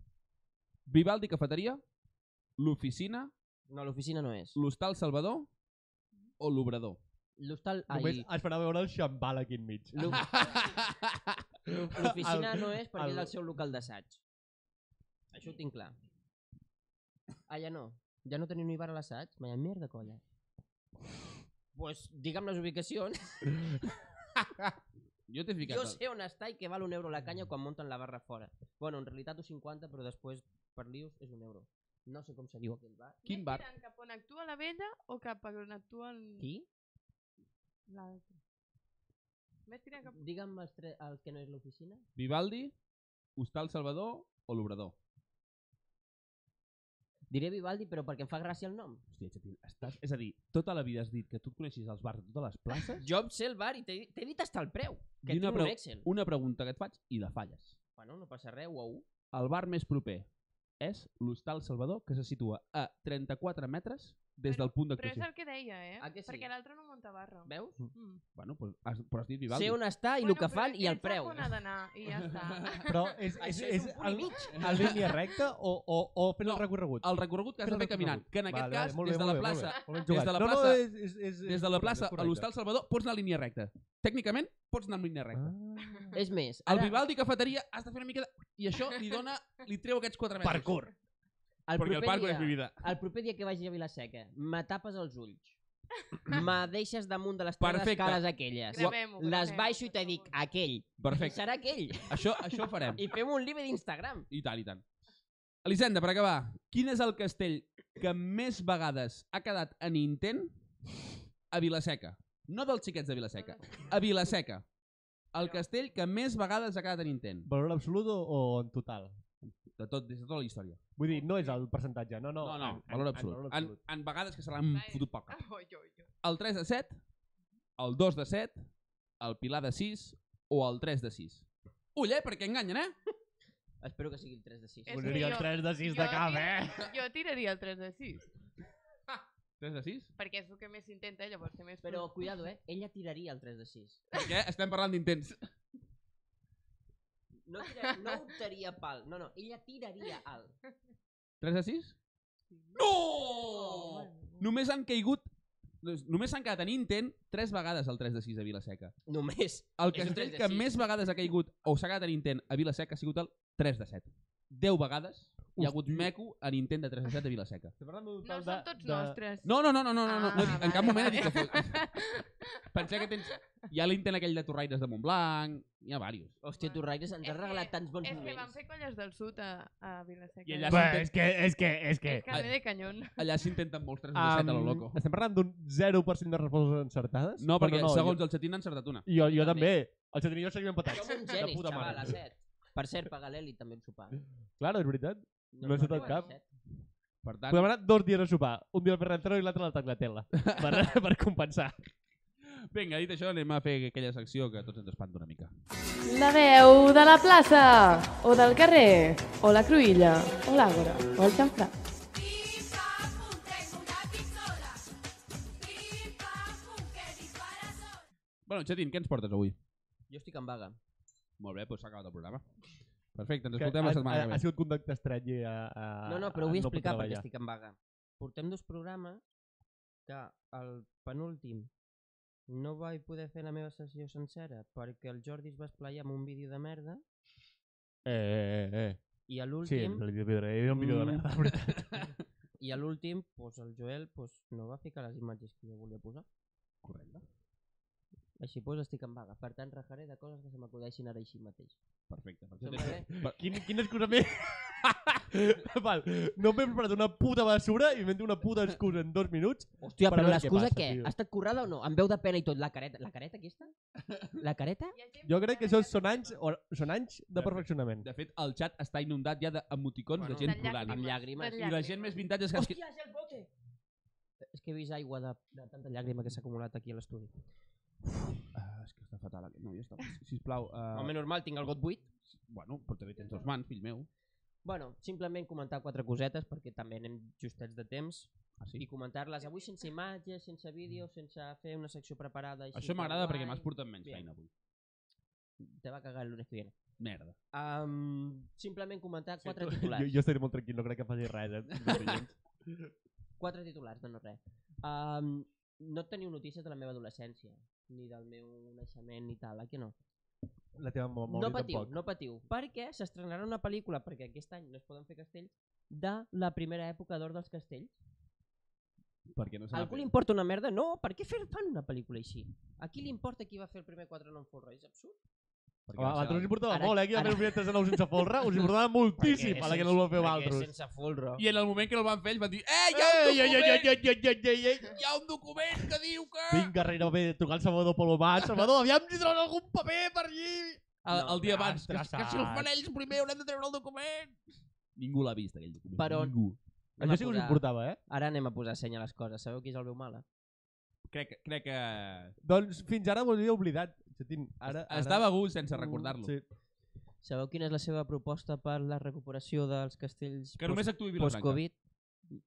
A: Vivaldi Cafeteria, l'oficina,
B: No, l'oficina no és.
A: l'hostal Salvador o l'obrador?
B: L'hostal...
D: Només
B: Ai,
D: es farà veure el xambal aquí enmig.
B: l'of- l'oficina no és perquè
D: el-
B: és el seu local d'assaig. Això ho tinc clar. Ah, ja no. Ja no teniu ni bar a l'assaig? Vaya merda, colla. Pues digue'm les ubicacions.
A: Jo t'he ficat...
B: Jo
A: el-
B: sé on està i que val un euro la canya quan munten la barra fora. Bueno, en realitat un 50, però després per lius és un euro. No sé com se diu aquell bar.
A: Quin
C: Més
A: bar?
C: tirant Cap on actua la vella o cap a on actua el-
B: Qui?
C: l'altre? Més tirant cap...
B: Digue'm els, tre... el que no és l'oficina.
A: Vivaldi, Hostal Salvador o l'Obrador?
B: Diré Vivaldi, però perquè em fa gràcia el nom.
A: Hòstia, Chatín, estàs... És a dir, tota la vida has dit que tu coneixis els bars de totes les places.
B: Jo em sé el bar i t'he t'he dit hasta el preu.
A: I
B: Que tinc
A: una
B: un
A: preu-
B: Excel.
A: Una pregunta que et faig i la falles.
B: Bueno, no passa res, uau.
A: El bar més proper és l'Hostal Salvador, que se situa a 34 metres des del punt
C: Però és
A: d'actuació.
C: el que deia, eh?
B: Ah, que sí?
C: Perquè l'altre no munta barra.
B: Veus?
C: Mm.
A: Bueno, però has, però has dit Vivaldi.
B: Sé on està i el que fan i el preu.
C: Bueno, però ell sap on ha d'anar i
B: [LAUGHS]
C: ja està.
D: Però és, és,
B: Això
D: és,
B: és un punt i
D: en,
B: mig.
D: en línia recta o, o, o fent
A: No,
D: el recorregut?
A: El recorregut que has de fer caminant, que en aquest
D: Vale,
A: cas,
D: vale, molt bé,
A: des de
D: molt
A: la
D: bé, molt bé.
A: plaça,
D: Molt ben
A: des de
D: jugat.
A: la
D: No, no,
A: plaça-
D: és- és- és-
A: des
D: és
A: de la
D: correcte,
A: plaça
D: és
A: a l'Hostal Salvador, pots anar en línia recta. Tècnicament, pots anar en línia
D: Ah.
A: recta.
D: correcte.
B: És més,
A: Al
B: ara,
A: Vivaldi Cafeteria has de fer una mica de... I això li dona... Li treu aquests 4
D: Ah,
A: metres.
D: parkour.
B: el
A: Perquè el
B: proper
A: parkour és mi
B: dia,
A: vida.
B: el proper dia que vagi a Vilaseca, me tapes els ulls, me deixes damunt de les tres
A: Perfecte.
B: escales aquelles,
C: Gravem-ho,
B: les
C: gravem-ho,
B: baixo i ah.
C: per
B: te dic,
C: favor.
B: aquell,
A: Perfecte.
B: serà aquell.
A: Això, això ho farem.
B: I fem un live d'Instagram.
A: I tant, i tant. Elisenda, per acabar, quin és el castell que més vegades ha quedat en intent a Vilaseca? No dels xiquets de Vilaseca, a Vilaseca. El castell que més vegades ha quedat en intent.
D: Valor absolut o, o en total?
A: De tot, des de tota la història.
D: Vull dir, no és el percentatge, no, no.
A: No,
D: en-
A: no,
D: en-
A: valor
D: en
A: absolut.
D: valor
A: En,
D: absolut.
A: en vegades que se l'han
C: [LAUGHS] Ai.
A: fotut pel cap.
C: Oi, oi, oi.
A: El 3 de 7, el 2 de 7, el Pilar de 6 o el 3 de 6. Ull, eh? Perquè enganyen, eh?
B: Espero que sigui el 3 de 6.
C: És
D: Voldria
C: que
D: el
C: jo-
D: 3 de 6 de
C: jo
D: cap,
C: tira-
D: eh?
C: Jo tiraria el 3 de 6,
A: 3 de 6?
C: perquè és el que més s'intenta, llavors té més...
B: Però, cuidado, eh? Ella tiraria el 3 de 6.
A: Perquè estem parlant d'intents.
B: No, tira, no optaria pel. No, no, ella tiraria al.
A: 3 de 6? No!
C: Oh,
A: Només han caigut doncs, Només s'han quedat en intent 3 vegades el 3 de 6 a Vilaseca.
B: [LAUGHS] Només.
A: El
B: És un
A: castell
B: 3 de
A: que
B: 6.
A: més vegades ha caigut o s'ha quedat en intent a Vilaseca ha sigut el 3 de 7. 10 vegades hi ha hagut
D: Hosti.
A: meco en intent de 3 de 7 a Vilaseca.
D: Estem parlant d'un
C: No
D: total
C: són tots
D: de...
C: nostres.
A: No, no, no, no, no, no, no,
C: Ah,
A: no he dit- en cap
C: vale,
A: moment he dit
C: vale.
A: que fos... Pensar que tens... Hi ha l'intent aquell de Torraires de Montblanc, hi ha diversos.
B: Hòstia, tu, Raires, ens
C: És
B: has
C: que-
B: regalat tants bons
C: És que van
B: moments.
C: fer colles del sud a, a Vilaseca.
A: I allà
D: Bé,
A: s'inten-
D: és que, és que, és que...
C: És carrer de canyón.
A: Allà s'intenten molts 3 de 7 a lo
D: Um,
A: loco.
D: estem parlant d'un 0% de respostes encertades?
A: No, perquè
D: Bueno,
A: segons el xatín han encertat una.
D: Jo, jo, jo també. El xatrinó seguim empatats.
B: Som un
D: De
B: genis,
D: puta
B: xaval,
D: mare.
B: a 7. Per cert, paga l'Eli també un sopar.
D: Claro, és veritat. No he
B: me'n
D: estat
B: recordo,
D: cap.
B: a set.
A: Per tant,
D: Podem anar dos dies a sopar, un dia al Ferrantero i l'altre a la
A: [LAUGHS]
D: Tagliatella, per, per compensar.
A: vinga, dit això, anem a fer aquella secció que tots ens espanta una mica.
C: La veu de la plaça, o del carrer, o la cruïlla, o l'àgora, o el xamfrà.
A: Bueno, Xetin, què ens portes avui?
B: Jo estic en vaga.
A: Molt bé, doncs s'ha acabat el programa. Perfecte, ens escoltem la setmana
D: ha, ha
A: que ve.
D: sigut contacte estranger a, a
B: No, no, però ho
D: a
B: vull
D: Ah, no
B: explicar
D: poder
B: perquè
D: treballar.
B: estic en vaga. Portem dos programes que el penúltim no vaig poder fer la meva sessió sencera perquè el Jordi es va esplayar amb un vídeo de merda
D: Eh, eh, eh.
B: i a
D: Sí,
B: l'últim
D: el vídeo de era un vídeo de
A: Mm.
D: merda, la veritat.
B: i a l'últim pues, el Joel pues, no va ficar les imatges que jo volia posar.
A: Correcte.
B: Així pues, estic en vaga. Per tant, rajaré de coses que se m'acudeixin ara així mateix.
A: Perfecte. Per
B: Sembla
A: Xetin,
B: bé?
D: Quin, quina excusa més... [LAUGHS] Val, no m'he preparat una puta basura i m'he una puta excusa en dos minuts.
B: Hòstia,
D: Per
B: però
D: veure què
B: l'excusa
D: passa,
B: què?
D: tio.
B: Ha estat currada o no? Em veu de pena i tot. La careta. La careta aquesta? La careta?
D: Jo crec que això són anys, o, són anys de perfeccionament.
A: de fet, el xat està inundat ja d'emoticons
B: Bueno.
A: de gent
C: De
A: plorant.
B: Amb
C: llàgrimes.
B: llàgrimes.
A: I la gent més vintage és que...
B: Hòstia, és el bote! És que he vist aigua de, de tanta llàgrima que s'ha acumulat aquí a l'estudi.
A: Ah, és que està fatal aquest noi, està... Sisplau, uh...
B: Home, normal, tinc el got buit.
A: bueno, però també tens les mans, fill meu.
B: Bueno, simplement comentar quatre cosetes perquè també anem justets de temps
A: Ah,
B: i
A: sí?
B: comentar-les avui sense imatges, sense vídeo, sense fer una secció preparada. Així
A: Això
B: que
A: m'agrada perquè
B: guai.
A: m'has portat menys
B: Bien.
A: feina avui.
B: Te va cagar el lunes que viene.
A: Merda.
B: Um, simplement comentar quatre
D: tu- [LAUGHS]
B: titulars.
D: Jo, jo estaré molt tranquil, no crec que faci res. Eh?
B: Quatre titulars, no, no res. Um, no teniu notícies de la meva adolescència, ni del meu naixement ni tal, eh, que no?
D: La teva memòria
B: no patiu,
D: tampoc.
B: no patiu, perquè s'estrenarà una pel·lícula, perquè aquest any no es poden fer castells, de la primera època d'or dels castells.
A: Perquè no se
B: A
A: n'ha
B: algú li
A: fet.
B: importa una merda? No, per què fer fan una pel·lícula així? A qui li importa qui va fer el primer quadre no en folre? És absurd.
A: Perquè
D: A
A: no se
D: l'altre us
A: n'ha fet.
D: importava
B: Ara-
D: molt, eh? Que hi va fer
B: ara-
D: un viatge de nou sense folre. Us importava moltíssim,
B: Perquè
D: a la que no el va fer
B: sense-
D: altres.
B: perquè Sense folre.
A: I en el moment que el van fer ells van dir Eh, hi ha un
D: Ei, ei, ei,
A: document!
D: ei, ei, ei, ei, ei, ei.
A: Hi ha un document que diu que...
D: Vinga, Renové, trucar al Salvador Palomar. Salvador, aviam si troben algun paper per allí.
A: El,
B: No,
A: el dia abans, que,
D: traçat.
A: que si el fan ells primer haurem de treure el document. Ningú l'ha vist, aquell document.
B: Però-
A: Ningú.
B: Anem a
D: Això sí que us
B: posar-
D: importava, eh?
B: Ara anem a posar seny a les coses. Sabeu qui és el meu mala?
A: Crec, que- crec que...
D: Doncs fins ara m'ho havia oblidat. Xatín, ara,
A: Ara,
D: ara... Mm,
A: Estava a gust sense recordar-lo.
D: Sí.
B: Sabeu quina és la seva proposta per la recuperació dels castells
A: Que només actuï Vilafranca.
B: post-Covid?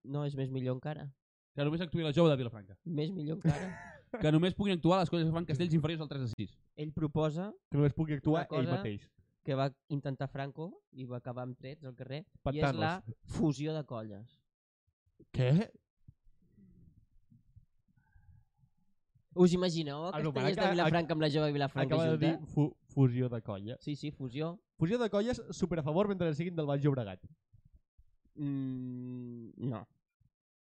B: No, és més millor encara.
A: Que només actuï la jove de
B: [LAUGHS]
A: Vilafranca.
B: Més millor
D: [LAUGHS]
B: encara.
A: Que només puguin actuar les coses que fan castells inferiors al 3 a 6.
B: Ell proposa
D: Que només pugui actuar
B: Una cosa-
D: ell mateix.
B: que va intentar Franco i va acabar amb trets al carrer i és
D: Pantanos.
B: la fusió de colles.
D: Què?
B: Us imagineu
D: Ah,
B: que
D: no, però
B: estigués de
D: acaba-
B: Vilafranca amb la jove Vilafranca
D: Acaba de
B: junta?
D: dir fu fusió de colla.
B: Sí, sí, fusió.
D: Fusió de colles, super a favor mentre siguin del Baix Llobregat.
B: Mm, no.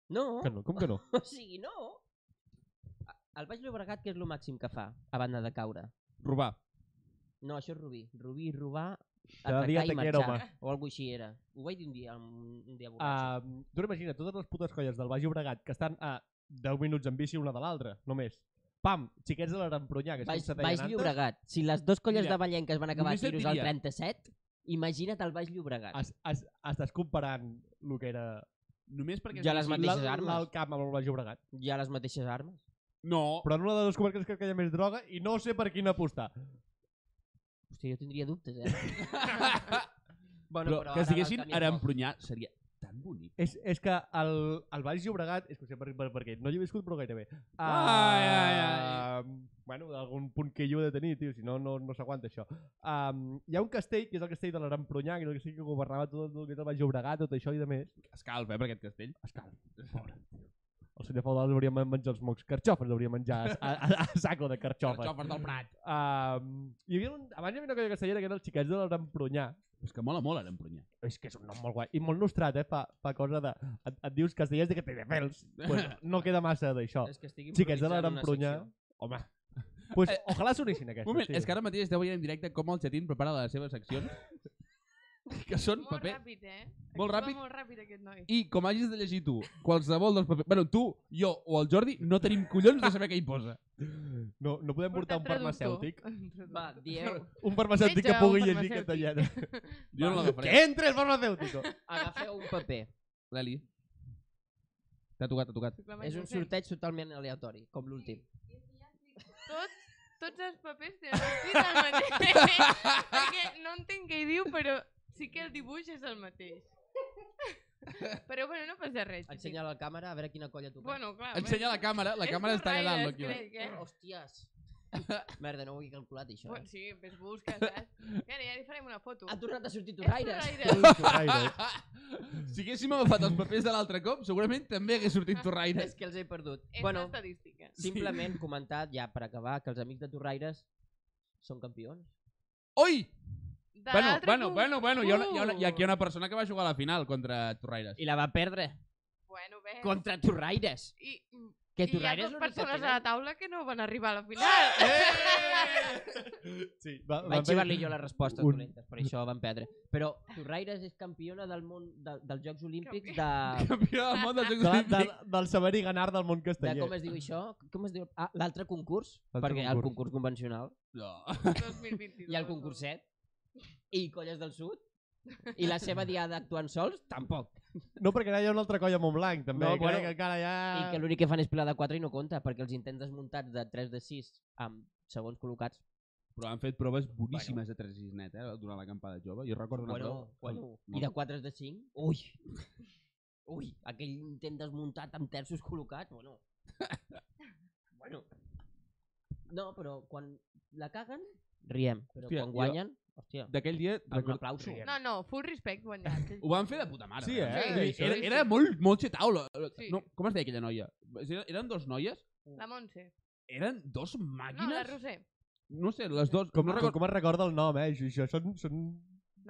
B: No,
D: Que no, com que
A: [LAUGHS]
D: no?
B: o sigui, no. A- El Baix Llobregat què és el màxim que fa a banda de caure?
A: Robar.
B: No, això és Rubí. Rubí, robar,
D: Cada dia
B: atracar
D: te
B: i
D: quiero,
B: marxar.
D: home.
B: O alguna així era. Ho vaig dir un dia, un, un dia
A: Ah,
B: borratxo.
D: Uh, tu imagina, totes les putes colles del Baix Llobregat que estan a 10 minuts en bici una de l'altra, només. Pam, xiquets de l'Aramproñà, que és com
B: Baix,
D: se deien
B: Baix
D: antes.
B: Llobregat. Si les dues colles
A: Mira,
B: de Vallenques van acabar a
A: només et
B: tiros al
A: diria- Ah.
B: 37, imagina't el Baix Llobregat.
D: Es, es, estàs comparant el que era
A: Només perquè...
B: Ja les
A: estiguin-
B: mateixes
D: l'Alt-
B: armes.
D: l'Alt Camp amb el Baix Llobregat.
B: Hi ha les mateixes armes.
A: No,
D: Però en una de les comarques crec que hi ha més droga i no sé per quina apostar.
B: Hòstia, jo tindria
A: [LAUGHS]
B: dubtes, eh?
A: però,
B: però
A: que
B: ara
A: estiguessin
B: l'Alcamí
A: ara
B: no.
A: emprenyar seria tan bonic.
D: És, és que el, el Baix Llobregat... És que ho sé per, per, perquè no hi he viscut, però gairebé.
A: Ai, ai, ai.
D: Um, bueno, d'algun punt que jo he de tenir, tio, si no, no, no s'aguanta això. Um, hi ha un castell, que és el castell de l'Aramproñà, que és el castell que governava tot el que és el Baix Llobregat, tot això i de més.
A: Escalf, eh, per aquest castell. Escalf.
D: El senyor Faudal hauria de menjar els mocs carxofes, hauria de menjar a, a, a, a saco de carxofes.
A: Xofes del Prat.
D: Um, hi havia un, abans hi havia una colla castellera que eren els xiquets de l'Aramproñà,
A: És que mola molt ara emprenyar.
D: és que és un nom molt guai i molt nostrat, eh? Fa, fa cosa de... Et, et dius castellers de que te de pèls. Pues no queda massa d'això.
B: És que estic
D: Xiquets de
B: improvisant una
D: l'Arampronya.
B: secció.
D: Home. Pues, ojalà s'unissin
A: Un
D: aquestes.
A: moment,
D: tio.
A: és que ara mateix esteu veient en directe com el xatín prepara les seves seccions. que són
C: Molt
A: paper...
C: ràpid, eh?
A: Molt
C: Actua
A: ràpid.
C: Molt ràpid aquest noi.
A: I com hagis de llegir tu qualsevol dels papers... Bueno, tu, jo o el Jordi no tenim collons de saber què hi posa.
D: No, no podem portar un farmacèutic.
C: [LAUGHS]
B: Va, dieu,
D: Un farmacèutic
C: Metge,
D: que pugui
C: un
D: llegir
C: farmacèutic.
D: castellà. [LAUGHS]
A: Jo no l'agafaré.
D: Que entre el farmacèutico!
B: agafeu un paper
A: L'Eli. T'ha tocat, t'ha tocat.
B: És un sorteig totalment aleatori, com l'últim.
E: Tots, tots els papers tenen el pis el mateix.
A: [LAUGHS]
E: perquè no entenc què hi diu, però sí que el dibuix és el mateix. però bueno, no passa res. xiquet.
B: Ensenya a la càmera a veure quina colla toca.
E: Bueno,
C: Ah,
E: clar.
A: Ensenya la càmera, la càmera està allà dalt. aquí. Oh,
E: Bueno,
B: Oh, Hòsties. Merda, no ho havia calculat, això. Eh?
E: sí, ves busca, saps? Ara ja li farem una foto.
B: Ha tornat a
E: [LAUGHS]
B: sortir
E: És
B: Torraires.
E: Torraires. [LAUGHS]
D: Torraires.
A: si haguéssim agafat els papers de l'altre cop, segurament també hagués sortit
B: És
A: Torraires.
B: que els he perdut.
E: És bueno.
B: bueno,
E: estadística.
B: simplement comentar, ja per acabar, que els amics de Torraires són campions.
A: Oi!
E: De
A: Bueno,
E: l'altre
A: bueno,
E: punt.
A: bueno, bueno, hi ha, una, hi, ha una, hi ha aquí
E: Uh.
A: una persona que va jugar a la final contra
B: [LAUGHS]
A: Torraires.
B: I la va perdre.
E: Bueno, bé.
B: Contra Torraires.
E: I,
B: Que
E: i hi ha
B: Torraires
E: dues
B: l'únic que
E: persones a la
B: tenen.
E: taula que no van arribar a la final.
A: [LAUGHS]
D: Sí, va, van
B: Vaig
D: fer-
B: [LAUGHS] xivar-li jo les respostes
D: Un-
B: dolentes, per això van perdre. Però Torraires és campiona del món de, dels Jocs Olímpics de...
D: [LAUGHS]
A: Campió del món dels Jocs
D: De, la- de,
A: Olímpics.
D: del saber i ganar del món
B: de
D: casteller.
B: com es diu això? Com es diu? Ah, l'altre concurs,
D: L'altre
B: perquè el
D: concurs.
B: concurs convencional
A: No.
E: 2022.
B: i el concurset i Colles del Sud i la seva diada actuant sols, tampoc.
D: No, perquè ara hi ha una altra colla a Montblanc, també.
B: No,
D: No,
B: bueno.
D: bueno, que encara hi ha...
B: I que l'únic que fan és pilar de 4 i no compta, perquè els intents desmuntats de 3 de 6 amb segons col·locats...
A: Però han fet proves boníssimes de 3 6 net, eh, durant la campada jove. Jo recordo una
B: Bueno,
A: prova.
B: bueno,
A: Molt-
B: I de 4 de 5, ui! [LAUGHS] Ui, aquell intent desmuntat amb terços col·locats, bueno... bueno... No, però quan la caguen, riem. Però
A: Hòstia,
B: quan
A: jo-
B: guanyen, hòstia,
A: D'aquell dia...
B: amb
A: record-
B: aplauso.
E: No, no, full respect guanyat.
A: Ho van fer de puta mare.
D: Sí,
A: eh?
D: eh?
A: O sigui,
D: Sí,
A: era,
D: sí,
A: era molt, molt xetaula.
E: Sí.
A: No, com es deia aquella noia? Eren- Eren dos noies?
E: La Montse.
A: Eren dos
E: No, la
A: màquines?
E: Roser.
A: no sé, les dos... no
D: Com, com,
A: recordo,
D: com es recorda el nom, eh? Això, això són, són...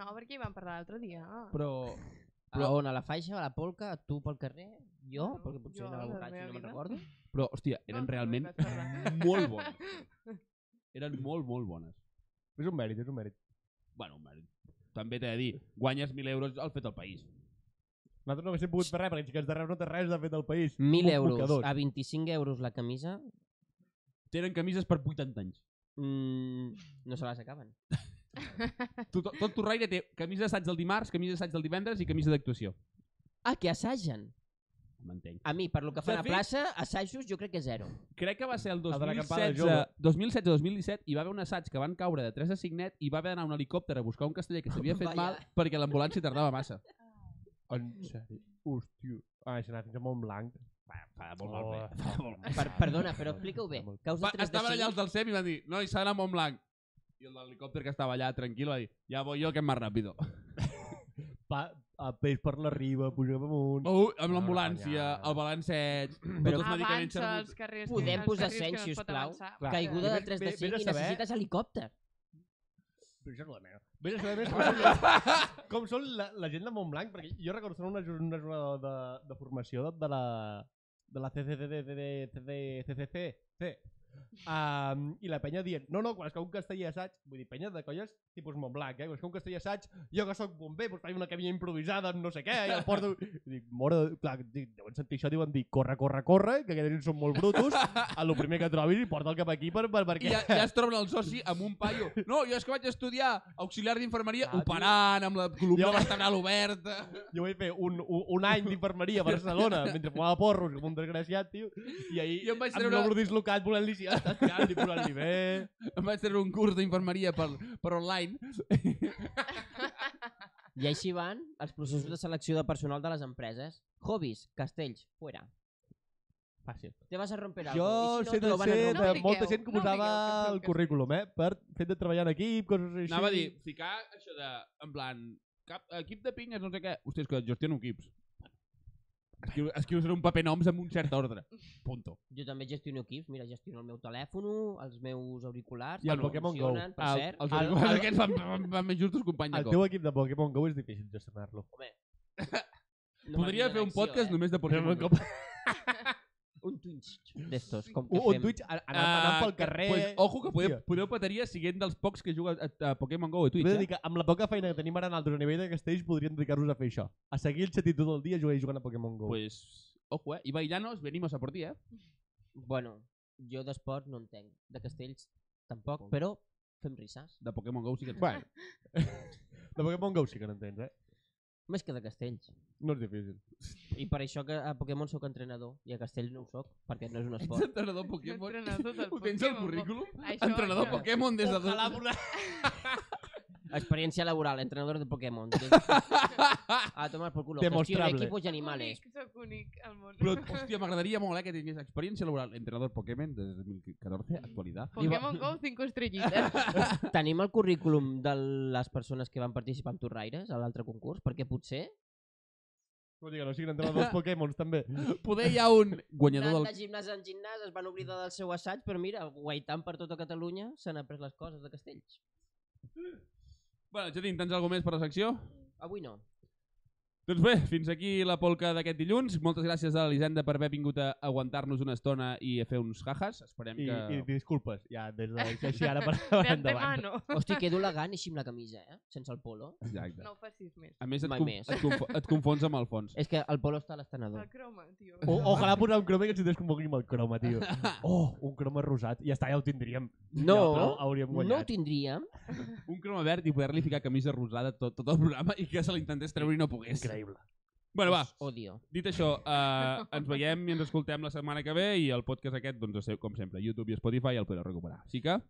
E: No, perquè hi vam parlar l'altre dia.
A: però...
B: Però on? A la faixa, a la polca, tu pel carrer, jo,
E: Bueno,
B: perquè potser
E: jo,
B: anava
E: la
B: borratxo i no
E: meva
B: me'n
E: vida.
B: recordo.
A: Però, hòstia, eren
E: No, però
A: realment
E: vaig
A: [LAUGHS]
E: parlar.
A: molt bones.
E: [LAUGHS]
A: Eren molt, molt bones.
D: És un mèrit, és un mèrit.
A: Bueno, mare, també t'he de dir, guanyes 1.000 euros al fet al país.
D: Nosaltres no haguéssim pogut fer res, perquè xiquets de Reus no té res de fet del país.
B: 1.000
D: Un
B: euros
D: mocador.
B: a 25 euros la camisa,
A: Tenen camises per 80 anys.
B: mm, no se les acaben.
A: Tot, tot Torraire té camisa d'assaig del dimarts, camisa d'assaig del divendres i camisa d'actuació.
B: Ah, que assagen.
A: M'entenc.
B: A mi, per lo que
A: De
B: fa a la
A: fet-
B: plaça, assajos jo crec que zero.
A: Crec que va ser el
D: de l'acampada
A: 2016,
D: jove.
A: 2016-2017 i va haver un assaig que van caure de 3 a 5 net i va haver d'anar un helicòpter a buscar un casteller que
E: [LAUGHS]
A: s'havia fet
B: Vaya.
A: mal perquè l'ambulància tardava massa.
D: En sèrio? Hòstia. Ah, això anava fins a Montblanc.
A: Va, fa molt mal bé.
D: Oh, fa molt mal.
B: Per, perdona, però explica-ho bé. Que us de
A: Va,
B: 3 de
A: estaven allà els
B: 5?
A: del SEM i van dir, no, s'ha d'anar a Montblanc. I el de l'helicòpter que estava allà tranquil va dir, ja voy jo que és més
D: [LAUGHS]
A: ràpido.
D: Pa, a peix per la riba, pugem amunt.
A: Oh, amb
D: No,
A: l'ambulància,
D: no, no.
A: el
D: [CLEARS THROAT]
A: balanceig,
B: Però
A: tots els medicaments
E: Avança
A: servents.
E: als carrers.
B: Podem
E: als
B: posar
E: carrers que
B: seny,
E: no es
B: si us
E: pot
B: plau?
E: avançar.
D: Clar.
B: Caiguda de
D: Vés-
B: 3 de
D: vés-
B: 5 i
D: vés a saber.
B: necessites helicòpter.
D: Però això és la meva. Vés a saber més com són, com són la, la gent de Montblanc, perquè jo recordo que una, jor- una jornada de, de formació de, de la de la CCCCCCC um, i la penya dient no, no, quan es cau un castell assaig vull dir, penya de colles tipus Montblanc eh? quan es cau un castell assaig, jo que sóc bomber doncs faig una cabina improvisada amb no sé què i el porto I dic, mora, de- clar, dic, deuen sentir això deuen dir, corre, corre, corre que aquests són molt brutos a lo primer que trobis i porta'l cap aquí per, per,
A: I
D: perquè
A: ja, ja es troben el soci amb un paio.
D: [LAUGHS]
A: No, jo és que vaig estudiar auxiliar d'infermeria
D: Ah, tio.
A: operant,
D: [LAUGHS]
A: amb la columna
D: Jo-
A: vertebral oberta... [LAUGHS]
D: Jo vaig fer un, un, un any d'infermeria a Barcelona mentre fumava porros com un desgraciat, tio. I ahir
A: Jo em vaig
D: amb
A: treure-
D: treure... l'obro dislocat volent-li si estàs tirant i posant-li bé.
A: Em vaig treure un curs d'infermeria per, per online.
B: I així van els processos de selecció de personal de les empreses. Hobbies, castells, fuera.
D: Fàcil.
B: Te vas a romper
D: Jo
B: algo. I si no,
D: sé
B: te
D: de
B: lo van a
D: ser
B: romper.
E: No
D: de
E: piqueu,
D: molta gent que
E: no
D: posava
E: piqueu, que feu
D: el
E: que
D: currículum, eh? Per fet de treballar en equip, coses així.
A: Anava a dir, ficar això de, en plan, cap, equip de pingues, no sé què. Hòstia, és que gestiono equips. Escriu, escrius en un paper noms amb un cert
D: [LAUGHS]
A: ordre. Punto.
B: Jo també gestiono equips, mira, gestiono el meu telèfon, els meus auriculars,
D: I el
B: que
D: Pokémon Go.
B: funcionen, Per
A: El,
B: cert,
A: els auriculars aquests van, van, van més justos company de
D: El
A: cop.
D: teu equip de Pokémon GO és difícil gestionar-lo.
B: no
A: Podria
B: m'arriben
A: fer un
B: d'acció,
A: podcast
B: eh?
A: només de Pokémon Go.
B: Un Twitch d'estos, com que
D: O un
B: fem.
D: Twitch anant, anant pel carrer...
A: Ah, Pues, ojo, que podeu,
D: Hòstia.
A: podeu pataria siguent dels pocs que juga a, a Pokémon GO i Twitch.
D: Vull dir
A: Eh?
D: que amb la poca feina que tenim ara en altres a nivell de castells podríem dedicar-nos a fer això. A seguir el xatí tot el dia jugant i jugant a Pokémon GO.
A: Pues, ojo, eh? Ibai Llanos, venimos a por ti, eh?
B: Bueno, jo d'esport no entenc. De castells tampoc, però fem risses.
A: De Pokémon GO sí que...
D: Bueno. De Pokémon GO sí que n'entens, eh?
B: Més que de castells.
D: No és difícil.
B: I per això que a Pokémon sóc entrenador i a castells no ho sóc, perquè no és un
A: Ets
B: esport.
A: [LAUGHS] entrenador Pokémon?
E: Entrenador del
A: Ho tens
E: Pokémon
A: al
E: Go.
A: currículum?
E: Això,
A: Entrenador
E: això.
A: Pokémon des de... dos-
B: Ojalà Experiencia laboral, entrenador de Pokémon. a tomar por culo. Gestión de
D: Demostrable.
B: equipos y animales.
E: Únic, sóc únic al món.
A: Però, hòstia, m'agradaria molt eh, que tingués experiència laboral. Entrenador Pokémon des de 2014, actualitat.
E: Pokémon Go, 5 estrellites.
B: [LAUGHS] Tenim el currículum de les persones que van participar en Torraires a l'altre concurs, perquè potser
D: No digue, no siguin entrenadors Pokémons, també.
E: Mm.
A: Poder hi ha un guanyador
B: anant
A: del...
B: de gimnàs en gimnàs es van oblidar del seu assaig, però mira, guaitant per tota Catalunya s'han après les coses de Castells.
A: Bueno, Jadín, tens alguna més per la secció?
B: Avui no.
A: Doncs bé, fins aquí la polca d'aquest dilluns. Moltes gràcies a l'Elisenda per haver vingut a aguantar-nos una estona i a fer uns jajas. Esperem
D: I,
A: que...
D: i disculpes, ja, des de així ara per
E: De
D: endavant.
E: antemano.
B: Hosti, quedo elegant així amb la camisa, eh? Sense el polo.
A: Exacte.
E: No ho facis més.
A: A més, et,
B: Mai
A: conf
B: més.
A: et, conf et confons amb el fons.
B: És que el polo està a l'estenedor.
E: El croma, tio.
B: Oh.
D: O, ojalà posar un croma i que ens desconvoquin amb el croma, tio. Oh, un croma rosat. Ja està, ja ho tindríem.
B: No,
D: ja, però hauríem
B: no ho
D: guanyat.
B: tindríem.
A: Un croma verd i poder-li ficar camisa rosada tot, tot el programa i que se l'intentés treure i no pogués.
D: Increïble.
A: Bueno, va,
B: Us Pues Odio.
A: dit això, eh, ens veiem i ens escoltem la setmana que ve i el podcast aquest, doncs, com sempre, a YouTube i Spotify el podeu recuperar. Així que,